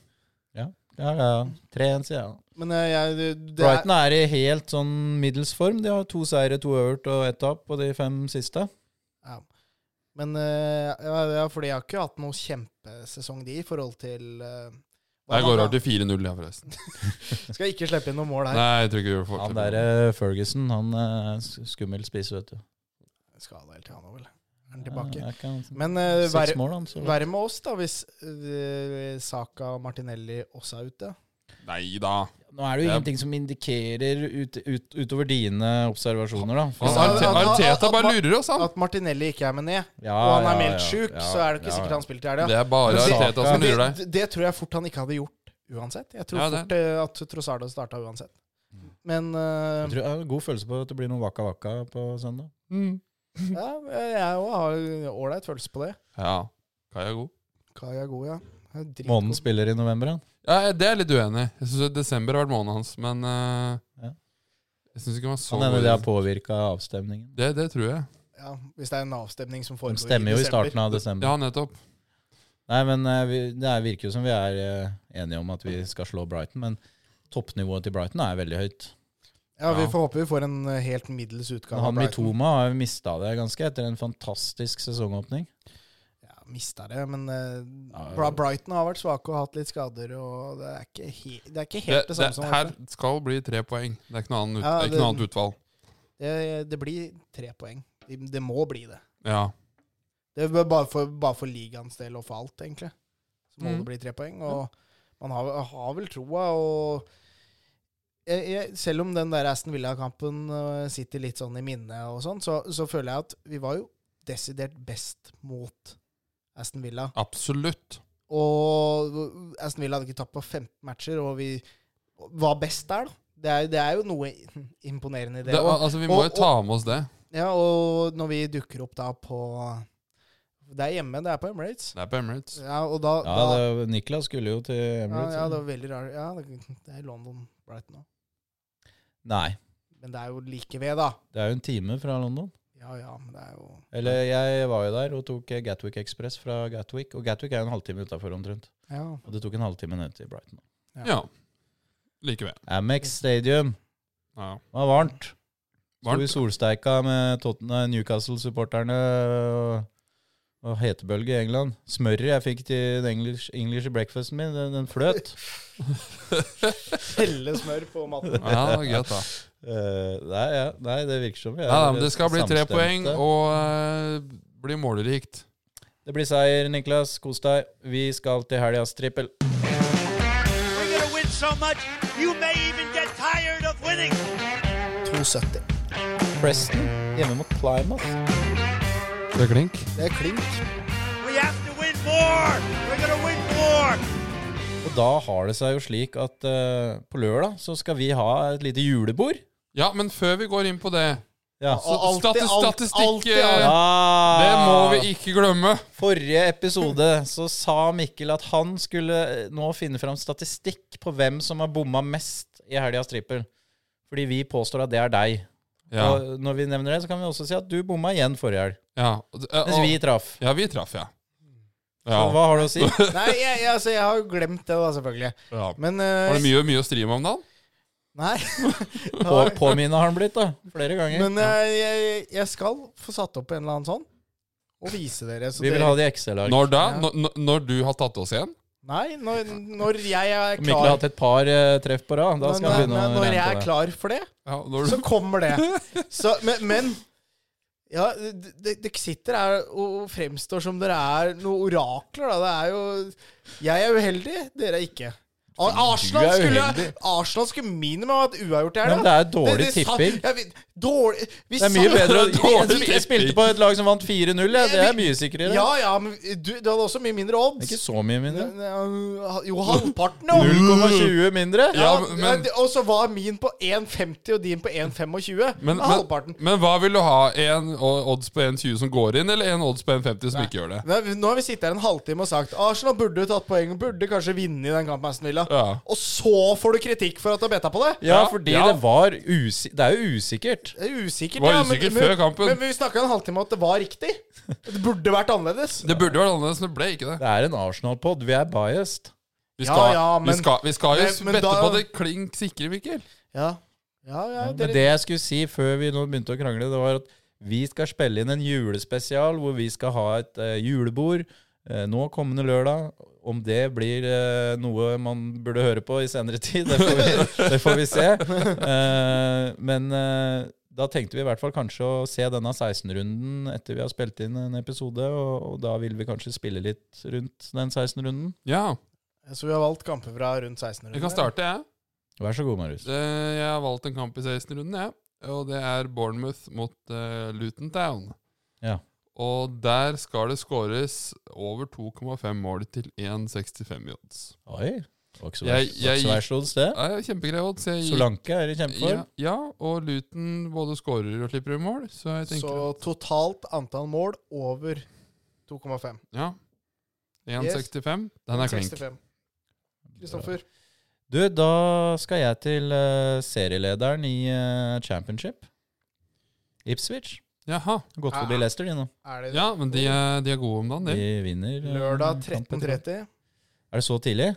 [SPEAKER 1] Ja, ja. 3-1, sier jeg.
[SPEAKER 3] Men eh, jeg, det- det er,
[SPEAKER 1] Brighton er i helt sånn middels form. De har to seire, to øvert og ett tap på de fem siste.
[SPEAKER 3] ja. Men eh, ja, ja, fordi jeg har ikke hatt noe kjempesesong de i forhold til eh, hva
[SPEAKER 2] Jeg går
[SPEAKER 3] han-
[SPEAKER 2] over til 4-0, ja, forresten.
[SPEAKER 3] Skal ikke slippe inn noe mål her.
[SPEAKER 2] Nei, jeg tror ikke vi gjør
[SPEAKER 1] Han
[SPEAKER 2] forskjell.
[SPEAKER 1] derre Ferguson, han er skummel spiss, vet du.
[SPEAKER 3] Skada helt til han òg, vel. Er han tilbake?
[SPEAKER 1] Ja, det er ikke han-
[SPEAKER 3] Men eh,
[SPEAKER 1] Seks
[SPEAKER 3] være,
[SPEAKER 1] mål, han. Så.
[SPEAKER 3] være med oss, da, hvis eh, Saka og Martinelli også er ute.
[SPEAKER 2] Nei da.
[SPEAKER 1] Nå er det jo
[SPEAKER 2] Ja.
[SPEAKER 1] ingenting som indikerer ut, ut, utover dine observasjoner, da.
[SPEAKER 2] Altså,
[SPEAKER 3] Ja,
[SPEAKER 2] Arte-
[SPEAKER 3] ja, ja,
[SPEAKER 2] Arteta
[SPEAKER 3] ja,
[SPEAKER 2] bare
[SPEAKER 3] ja,
[SPEAKER 2] lurer oss, han.
[SPEAKER 3] At Martinelli ikke er med ned,
[SPEAKER 1] Ja,
[SPEAKER 3] og han er
[SPEAKER 1] ja,
[SPEAKER 3] meldt
[SPEAKER 1] ja,
[SPEAKER 3] sjuk,
[SPEAKER 1] ja,
[SPEAKER 3] så er det ikke
[SPEAKER 1] ja,
[SPEAKER 3] sikkert
[SPEAKER 1] ja.
[SPEAKER 3] han spiller til helga.
[SPEAKER 2] Det er bare
[SPEAKER 3] Men så-
[SPEAKER 2] Arteta som
[SPEAKER 3] Men
[SPEAKER 2] lurer deg.
[SPEAKER 3] det, det tror jeg fort han ikke hadde gjort uansett. Jeg tror
[SPEAKER 2] Ja, det.
[SPEAKER 3] fort eh, at Trossard hadde starta uansett.
[SPEAKER 1] Mm.
[SPEAKER 3] Men eh,
[SPEAKER 1] Jeg tror jeg har god følelse på at det blir noen vaka-vaka på søndag.
[SPEAKER 3] ja, jeg òg har jo ålreit følelse på det.
[SPEAKER 2] Ja. Kai er god.
[SPEAKER 3] Kai er god, ja. Han er dritgod.
[SPEAKER 1] Månen spiller i november, han.
[SPEAKER 2] Ja, jeg- det er jeg litt uenig i. Jeg syns desember har vært måneden hans, men eh,
[SPEAKER 1] Ja.
[SPEAKER 2] Jeg syns ikke han var så
[SPEAKER 1] Han hender det har
[SPEAKER 2] god.
[SPEAKER 1] påvirka avstemningen.
[SPEAKER 2] Det, det tror jeg.
[SPEAKER 3] Ja, hvis det er en avstemning som
[SPEAKER 1] De
[SPEAKER 3] foregår
[SPEAKER 1] stemmer jo i
[SPEAKER 3] desember.
[SPEAKER 1] starten av desember.
[SPEAKER 2] Ja, nettopp.
[SPEAKER 1] Nei, men eh, vi, det er- virker jo som vi er eh, enige om at vi skal slå Brighton, men toppnivået til Brighton er veldig høyt.
[SPEAKER 3] Ja, vi
[SPEAKER 2] Ja.
[SPEAKER 3] får håpe vi får en eh, helt middels
[SPEAKER 1] Men
[SPEAKER 3] utgave
[SPEAKER 1] han
[SPEAKER 3] av Brighton.
[SPEAKER 1] Mitoma har jo mista det ganske etter en fantastisk sesongåpning.
[SPEAKER 3] Ja, mista det, men eh,
[SPEAKER 1] Ja,
[SPEAKER 3] Bra- Brighton har vært svake og hatt litt skader, og det er ikke, he det er ikke
[SPEAKER 2] Det,
[SPEAKER 3] helt det,
[SPEAKER 2] det,
[SPEAKER 3] samme som
[SPEAKER 2] her skal bli tre poeng. Det er ikke noe annet, ut,
[SPEAKER 3] Ja,
[SPEAKER 2] det er ikke
[SPEAKER 3] det-
[SPEAKER 2] noe annet utvalg.
[SPEAKER 3] det, det blir tre poeng. Det, det må bli det.
[SPEAKER 2] Ja.
[SPEAKER 3] Det er bare for, bare for ligaens del og for alt, egentlig. Så må
[SPEAKER 2] Mm.
[SPEAKER 3] det bli tre poeng. Og man har, har vel troa, og jeg, jeg, Selv om den der Aston Villa-kampen øh, sitter litt sånn i minnet og sånn, så, så føler jeg at vi var jo desidert best mot Aston Villa.
[SPEAKER 2] Absolutt.
[SPEAKER 3] Og Aston Villa hadde ikke tapt på 15 matcher, og vi var best der, da. Det er, det er jo noe imponerende i
[SPEAKER 2] Det,
[SPEAKER 3] det. og-
[SPEAKER 2] altså, vi må
[SPEAKER 3] og-
[SPEAKER 2] jo ta med oss det.
[SPEAKER 3] ja, og når vi dukker opp da på Det er hjemme, det er på Emirates.
[SPEAKER 2] Det er på Emirates.
[SPEAKER 3] Ja, og da,
[SPEAKER 1] Ja,
[SPEAKER 3] da
[SPEAKER 1] det, Niklas skulle jo til
[SPEAKER 3] ja,
[SPEAKER 1] Emirates.
[SPEAKER 3] ja, det var veldig rart. Ja, det det er London Brighton òg.
[SPEAKER 1] Nei,
[SPEAKER 3] Men det er jo like ved, da.
[SPEAKER 1] det er jo en time fra London.
[SPEAKER 3] Ja ja, men det er jo
[SPEAKER 1] Eller jeg var jo der og tok eh, Gatwick Express fra Gatwick, og Gatwick er jo en halvtime utafor omtrent.
[SPEAKER 3] Ja.
[SPEAKER 1] Og det tok en halvtime ned til Brighton.
[SPEAKER 2] Ja. Likevel.
[SPEAKER 1] Amex Stadium
[SPEAKER 2] Ja.
[SPEAKER 1] Det var varmt. Sto i
[SPEAKER 2] Varmt.
[SPEAKER 1] solsteika med Tottenham- Newcastle-supporterne eh, og Og hetebølge i England. Smøret jeg fikk til den English, English breakfasten min, den, den fløt.
[SPEAKER 3] Helle smør på maten.
[SPEAKER 2] Ja, det er greit, da.
[SPEAKER 1] Eh, nei, ja, nei, det virker som vi er
[SPEAKER 2] Ja, da, men det skal bli tre
[SPEAKER 1] samstemte.
[SPEAKER 2] poeng og eh, bli målerikt.
[SPEAKER 1] Det blir seier, Niklas. Kos deg. Vi skal til helgas trippel.
[SPEAKER 5] We're going to win so much, you may even get tired of winning.
[SPEAKER 3] 2,70.
[SPEAKER 1] Preston hjemme mot Plymouth.
[SPEAKER 2] Det er klink.
[SPEAKER 3] Det er klink.
[SPEAKER 5] We have to win more. We're going to win more.
[SPEAKER 1] Og da har det seg jo slik at eh, på lørdag så skal vi ha et lite julebord.
[SPEAKER 2] Ja, men før vi går inn på det
[SPEAKER 1] Ja.
[SPEAKER 3] Og alltid,
[SPEAKER 2] stati-
[SPEAKER 3] alt-
[SPEAKER 2] statistikk,
[SPEAKER 3] alltid,
[SPEAKER 2] eh,
[SPEAKER 3] alt.
[SPEAKER 1] Ah!
[SPEAKER 2] Det må vi ikke glemme.
[SPEAKER 1] Forrige episode så sa Mikkel at han skulle eh, nå finne fram statistikk på hvem som har bomma mest i helgas trippel. Fordi vi påstår at det er deg.
[SPEAKER 2] Ja,
[SPEAKER 1] Og når vi nevner det, så kan vi også si at du bomma igjen forrige helg.
[SPEAKER 2] ja. og- eh,
[SPEAKER 1] Mens
[SPEAKER 2] og-
[SPEAKER 1] vi traff.
[SPEAKER 2] ja vi traff, ja.
[SPEAKER 1] Så
[SPEAKER 2] Ja.
[SPEAKER 1] Hva har du å si?
[SPEAKER 3] Nei, jeg, jeg, altså, jeg har jo glemt det, da, selvfølgelig.
[SPEAKER 2] ja.
[SPEAKER 3] Men eh,
[SPEAKER 2] Var det mye, mye å stri med om dagen?
[SPEAKER 3] Nei.
[SPEAKER 1] På, påminna har han blitt, da. Flere ganger.
[SPEAKER 3] Men eh, jeg, jeg skal få satt opp en eller annen sånn, og vise dere. Så
[SPEAKER 1] vi vil
[SPEAKER 3] dere
[SPEAKER 1] ha det i Excel-ark.
[SPEAKER 2] Når da? Når- Når, når du har tatt oss igjen?
[SPEAKER 3] Nei, når, når jeg er
[SPEAKER 1] Mikkel har
[SPEAKER 3] klar
[SPEAKER 1] hatt et par eh, treff på rad. Da
[SPEAKER 3] når,
[SPEAKER 1] skal han begynne
[SPEAKER 3] når,
[SPEAKER 1] å
[SPEAKER 3] når jeg
[SPEAKER 1] regne
[SPEAKER 3] er
[SPEAKER 1] på det.
[SPEAKER 3] klar for det,
[SPEAKER 2] Ja, når
[SPEAKER 3] så
[SPEAKER 2] du,
[SPEAKER 3] kommer det. Så, men, men ja, d- d- dere sitter her og og fremstår som dere er noen orakler, da. Det er jo Jeg er uheldig, dere er ikke. Ar- Arsenal
[SPEAKER 1] er
[SPEAKER 3] skulle,
[SPEAKER 1] uheldig.
[SPEAKER 3] Arsenal skulle minimum ha hatt uavgjort her,
[SPEAKER 1] Men det er dårlig
[SPEAKER 3] Det- det sa-
[SPEAKER 1] tipping.
[SPEAKER 3] Ja, vi- dårlig vi
[SPEAKER 1] Det er mye
[SPEAKER 3] sa-
[SPEAKER 1] bedre
[SPEAKER 2] Det er
[SPEAKER 1] å
[SPEAKER 2] dårlig
[SPEAKER 1] Jeg spilte på et lag som vant 4-0. Ja. Det er mye sikrere.
[SPEAKER 3] Ja, ja, men du, du hadde også mye mindre
[SPEAKER 1] Det er
[SPEAKER 3] odds.
[SPEAKER 1] Ikke sånn, så mye mindre.
[SPEAKER 3] Ja, Jo, halvparten, jo.
[SPEAKER 1] 0,20 mindre.
[SPEAKER 2] Ja,
[SPEAKER 3] Ja,
[SPEAKER 2] men-
[SPEAKER 3] ja, det- og så var min på 1,50 og din på 1,25.
[SPEAKER 2] men,
[SPEAKER 3] Det er
[SPEAKER 2] men,
[SPEAKER 3] halvparten.
[SPEAKER 2] men hva vil du ha? En o- odds på 1,20 som går inn, eller en odds på 1,50 som ikke gjør det?
[SPEAKER 3] Nei, Nå har vi sittet her en halvtime og sagt Arsenal burde tatt poeng og burde kanskje vinne i den kampen Aston Villa.
[SPEAKER 2] Ja.
[SPEAKER 3] Og så får du kritikk for at du har betta på det?
[SPEAKER 1] Ja,
[SPEAKER 2] Ja,
[SPEAKER 1] fordi
[SPEAKER 2] ja.
[SPEAKER 1] det var usi Det er jo usikkert.
[SPEAKER 3] Det er
[SPEAKER 2] Det
[SPEAKER 3] usikkert.
[SPEAKER 2] var
[SPEAKER 3] ja, men-
[SPEAKER 2] usikkert
[SPEAKER 3] men-
[SPEAKER 2] før kampen.
[SPEAKER 3] Men, vi snakka en halvtime om at det var riktig. Det burde vært annerledes.
[SPEAKER 2] Det burde vært annerledes, men det ble ikke det.
[SPEAKER 1] Det er en Arsenal-pod. Vi er biased.
[SPEAKER 2] Vi
[SPEAKER 3] Ja,
[SPEAKER 2] skal,
[SPEAKER 3] ja, men-
[SPEAKER 2] vi skal, vi skal jo
[SPEAKER 3] Men- men
[SPEAKER 2] bette
[SPEAKER 3] da-
[SPEAKER 2] på det klink sikre, Mikkel.
[SPEAKER 3] Ja, ja, ja
[SPEAKER 1] Men
[SPEAKER 3] dere,
[SPEAKER 1] det jeg skulle si før vi nå begynte å krangle, det var at vi skal spille inn en julespesial hvor vi skal ha et eh, julebord eh, nå kommende lørdag. Om det blir eh, noe man burde høre på i senere tid, det får vi, det får vi se. Eh, men eh, da tenkte vi i hvert fall kanskje å se denne 16-runden etter vi har spilt inn en episode, og, og da vil vi kanskje spille litt rundt den 16-runden.
[SPEAKER 2] Ja,
[SPEAKER 3] Så vi har valgt kamper fra rundt 16
[SPEAKER 2] jeg kan starte, jeg.
[SPEAKER 1] Vær så god, Marius.
[SPEAKER 2] Eh, Jeg har valgt en kamp i 16-runden, jeg. Og det er Bournemouth mot eh, Luton Town.
[SPEAKER 1] Ja.
[SPEAKER 2] Og der skal det skåres over 2,5 mål til 1,65 i odds.
[SPEAKER 1] Oi. Det var ikke så
[SPEAKER 2] Jeg-
[SPEAKER 1] verst- det var ikke så
[SPEAKER 2] jeg-
[SPEAKER 1] verst odds, det.
[SPEAKER 2] Det er kjempegreie odds. jeg gir-
[SPEAKER 1] Solanke er i kjempeform.
[SPEAKER 2] Ja, ja, og Luton både skårer og slipper i mål, så jeg tenker
[SPEAKER 3] Så totalt antall mål over 2,5.
[SPEAKER 2] Ja. 1,65. Den er klink.
[SPEAKER 3] 65. Kristoffer.
[SPEAKER 1] Du, da skal jeg til eh, serielederen i eh, championship. Ipswich.
[SPEAKER 2] Jaha.
[SPEAKER 1] Gått forbi
[SPEAKER 3] Ah.
[SPEAKER 1] Leicester, de nå.
[SPEAKER 3] Er det
[SPEAKER 2] Ja, men de er, de er gode om dagen,
[SPEAKER 1] De
[SPEAKER 2] de.
[SPEAKER 1] vinner. eh,
[SPEAKER 3] lørdag
[SPEAKER 1] kamp etter kamp.
[SPEAKER 3] 13.30?
[SPEAKER 1] Er det så tidlig?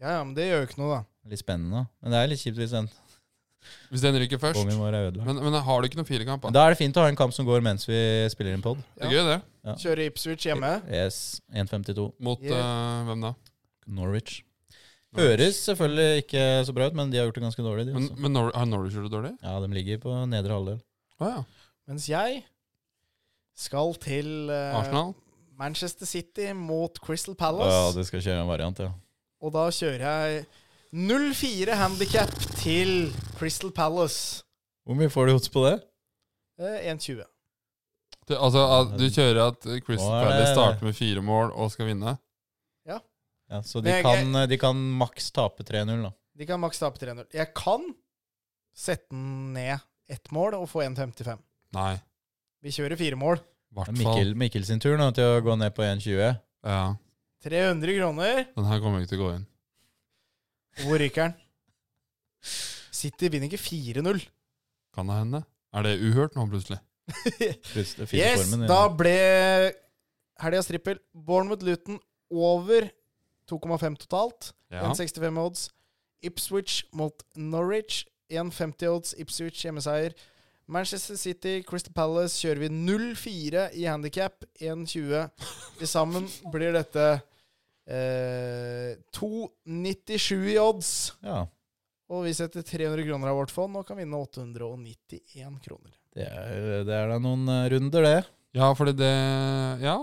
[SPEAKER 3] Ja, ja, men det gjør jo ikke noe, da.
[SPEAKER 1] Litt spennende. Men det er litt kjipt hvis den
[SPEAKER 2] Hvis den ryker først.
[SPEAKER 1] bongen vår er ødelagt.
[SPEAKER 2] Men, men har du ikke noen firekamp?
[SPEAKER 1] Men
[SPEAKER 2] da?
[SPEAKER 1] da er det fint å ha en kamp som går mens vi spiller inn pod.
[SPEAKER 2] Det er gøy, det.
[SPEAKER 3] Kjøre Ipswich hjemme.
[SPEAKER 1] Yes. 1.52.
[SPEAKER 2] Mot
[SPEAKER 3] Yeah.
[SPEAKER 2] eh, hvem da?
[SPEAKER 1] Norwich. Høres selvfølgelig ikke så bra ut, men de har gjort det ganske dårlig, de
[SPEAKER 2] Men,
[SPEAKER 1] også.
[SPEAKER 2] men Nor har Norwich gjort det dårlig?
[SPEAKER 1] Ja, de ligger på nedre halvdel.
[SPEAKER 2] Å ja.
[SPEAKER 3] Mens jeg skal til eh,
[SPEAKER 2] Arsenal?
[SPEAKER 3] Manchester City mot Crystal
[SPEAKER 1] Ja,
[SPEAKER 3] Palace.
[SPEAKER 1] det skal kjøre en variant, ja.
[SPEAKER 3] Og da kjører jeg 0-4 handikap til Crystal Palace.
[SPEAKER 1] Hvor mye får du odds på det?
[SPEAKER 3] Eh, 1-20.
[SPEAKER 2] Du, altså, at du kjører at Crystal
[SPEAKER 1] Nå er
[SPEAKER 2] Palace
[SPEAKER 1] det-
[SPEAKER 2] starter med fire mål og skal vinne?
[SPEAKER 1] Ja, så de
[SPEAKER 3] Men jeg-
[SPEAKER 1] kan, eh, de kan maks tape 3-0, da.
[SPEAKER 3] De kan maks tape 3-0. Jeg kan sette den ned ett mål og få 1,55.
[SPEAKER 2] Nei.
[SPEAKER 3] Vi kjører fire mål.
[SPEAKER 2] I hvert fall.
[SPEAKER 1] Mikkel, Mikkel sin tur nå til å gå ned på 1,20.
[SPEAKER 2] Ja.
[SPEAKER 3] 300 kroner.
[SPEAKER 2] Den her kommer ikke til å gå inn.
[SPEAKER 3] Hvor ryker den? City vinner ikke 4-0.
[SPEAKER 2] Kan det hende? Er det uhørt nå, plutselig?
[SPEAKER 1] Plutselig fire
[SPEAKER 3] Yes,
[SPEAKER 1] formen, ja.
[SPEAKER 3] da ble helgas trippel Bournemouth-Luton over 2,5 totalt.
[SPEAKER 2] Ja.
[SPEAKER 3] 1,65 odds. Ipswich mot Norwich. 1,50 odds. Ipswich hjemmeseier. Manchester City, Crystal Palace kjører vi 0-4 i handikap. 1-20. Til sammen blir dette eh, 2,97 i odds.
[SPEAKER 1] Ja,
[SPEAKER 3] Og vi setter 300 kroner av vårt fond og kan vinne 891 kroner.
[SPEAKER 1] det er, det er da noen eh, runder, det.
[SPEAKER 2] Ja, fordi det Ja,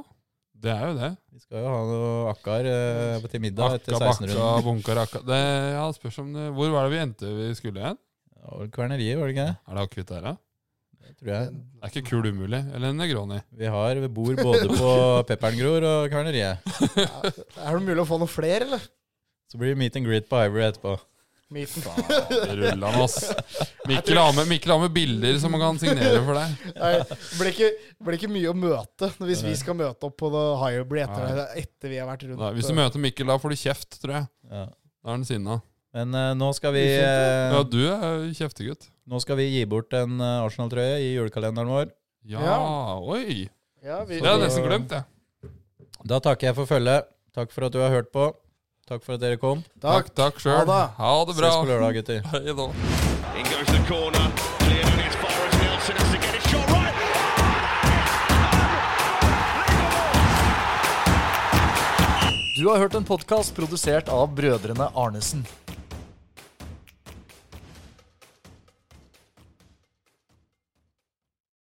[SPEAKER 2] det er jo det.
[SPEAKER 1] Vi skal jo ha noe akkar eh, til middag etter
[SPEAKER 2] Akka,
[SPEAKER 1] 16
[SPEAKER 2] bakka,
[SPEAKER 1] runden.
[SPEAKER 2] bunka, rakka det, Ja, det spørs om det Hvor var det vi endte vi skulle igjen?
[SPEAKER 1] Det var vel Kverneriet, var det ikke det?
[SPEAKER 2] Er det akevitt der, da?
[SPEAKER 1] Det Tror jeg.
[SPEAKER 2] Det er ikke kul umulig. Eller en Negroni.
[SPEAKER 1] Vi har vi bor både på Peppergror og Kverneriet.
[SPEAKER 3] Er det mulig å få noe flere, eller?
[SPEAKER 1] Så blir det meet and greet på Ivory etterpå.
[SPEAKER 3] Myten.
[SPEAKER 2] Det ruller han, ass. Mikkel har, med, Mikkel har med bilder som han kan signere for deg.
[SPEAKER 3] Nei, Det blir ikke, det blir ikke mye å møte hvis vi skal møte opp på The Hybrid etter, etter vi har vært rundt.
[SPEAKER 2] Da, hvis du møter Mikkel da, får du kjeft, tror jeg.
[SPEAKER 1] Ja.
[SPEAKER 2] Da er han sinna.
[SPEAKER 1] Men eh, nå, skal vi,
[SPEAKER 3] Ufint,
[SPEAKER 1] eh,
[SPEAKER 2] Ja, du er jo kjeftegutt.
[SPEAKER 1] nå skal vi gi bort en eh, Arsenal-trøye i julekalenderen vår.
[SPEAKER 2] Ja,
[SPEAKER 3] Ja.
[SPEAKER 2] oi!
[SPEAKER 3] Ja, vi,
[SPEAKER 2] Det har jeg nesten glemt, jeg.
[SPEAKER 1] Da takker jeg for følget. Takk for at du har hørt på. Takk for at dere kom.
[SPEAKER 3] Takk.
[SPEAKER 2] Takk, takk sjøl.
[SPEAKER 3] Ha det.
[SPEAKER 2] Ha det bra.
[SPEAKER 1] Ses på lørdag, gutter.
[SPEAKER 2] Hei da.
[SPEAKER 4] In goes the corner. Cleared and it's Forrest Nelson has to get a shot right.
[SPEAKER 6] Du har hørt en podkast produsert av brødrene Arnesen.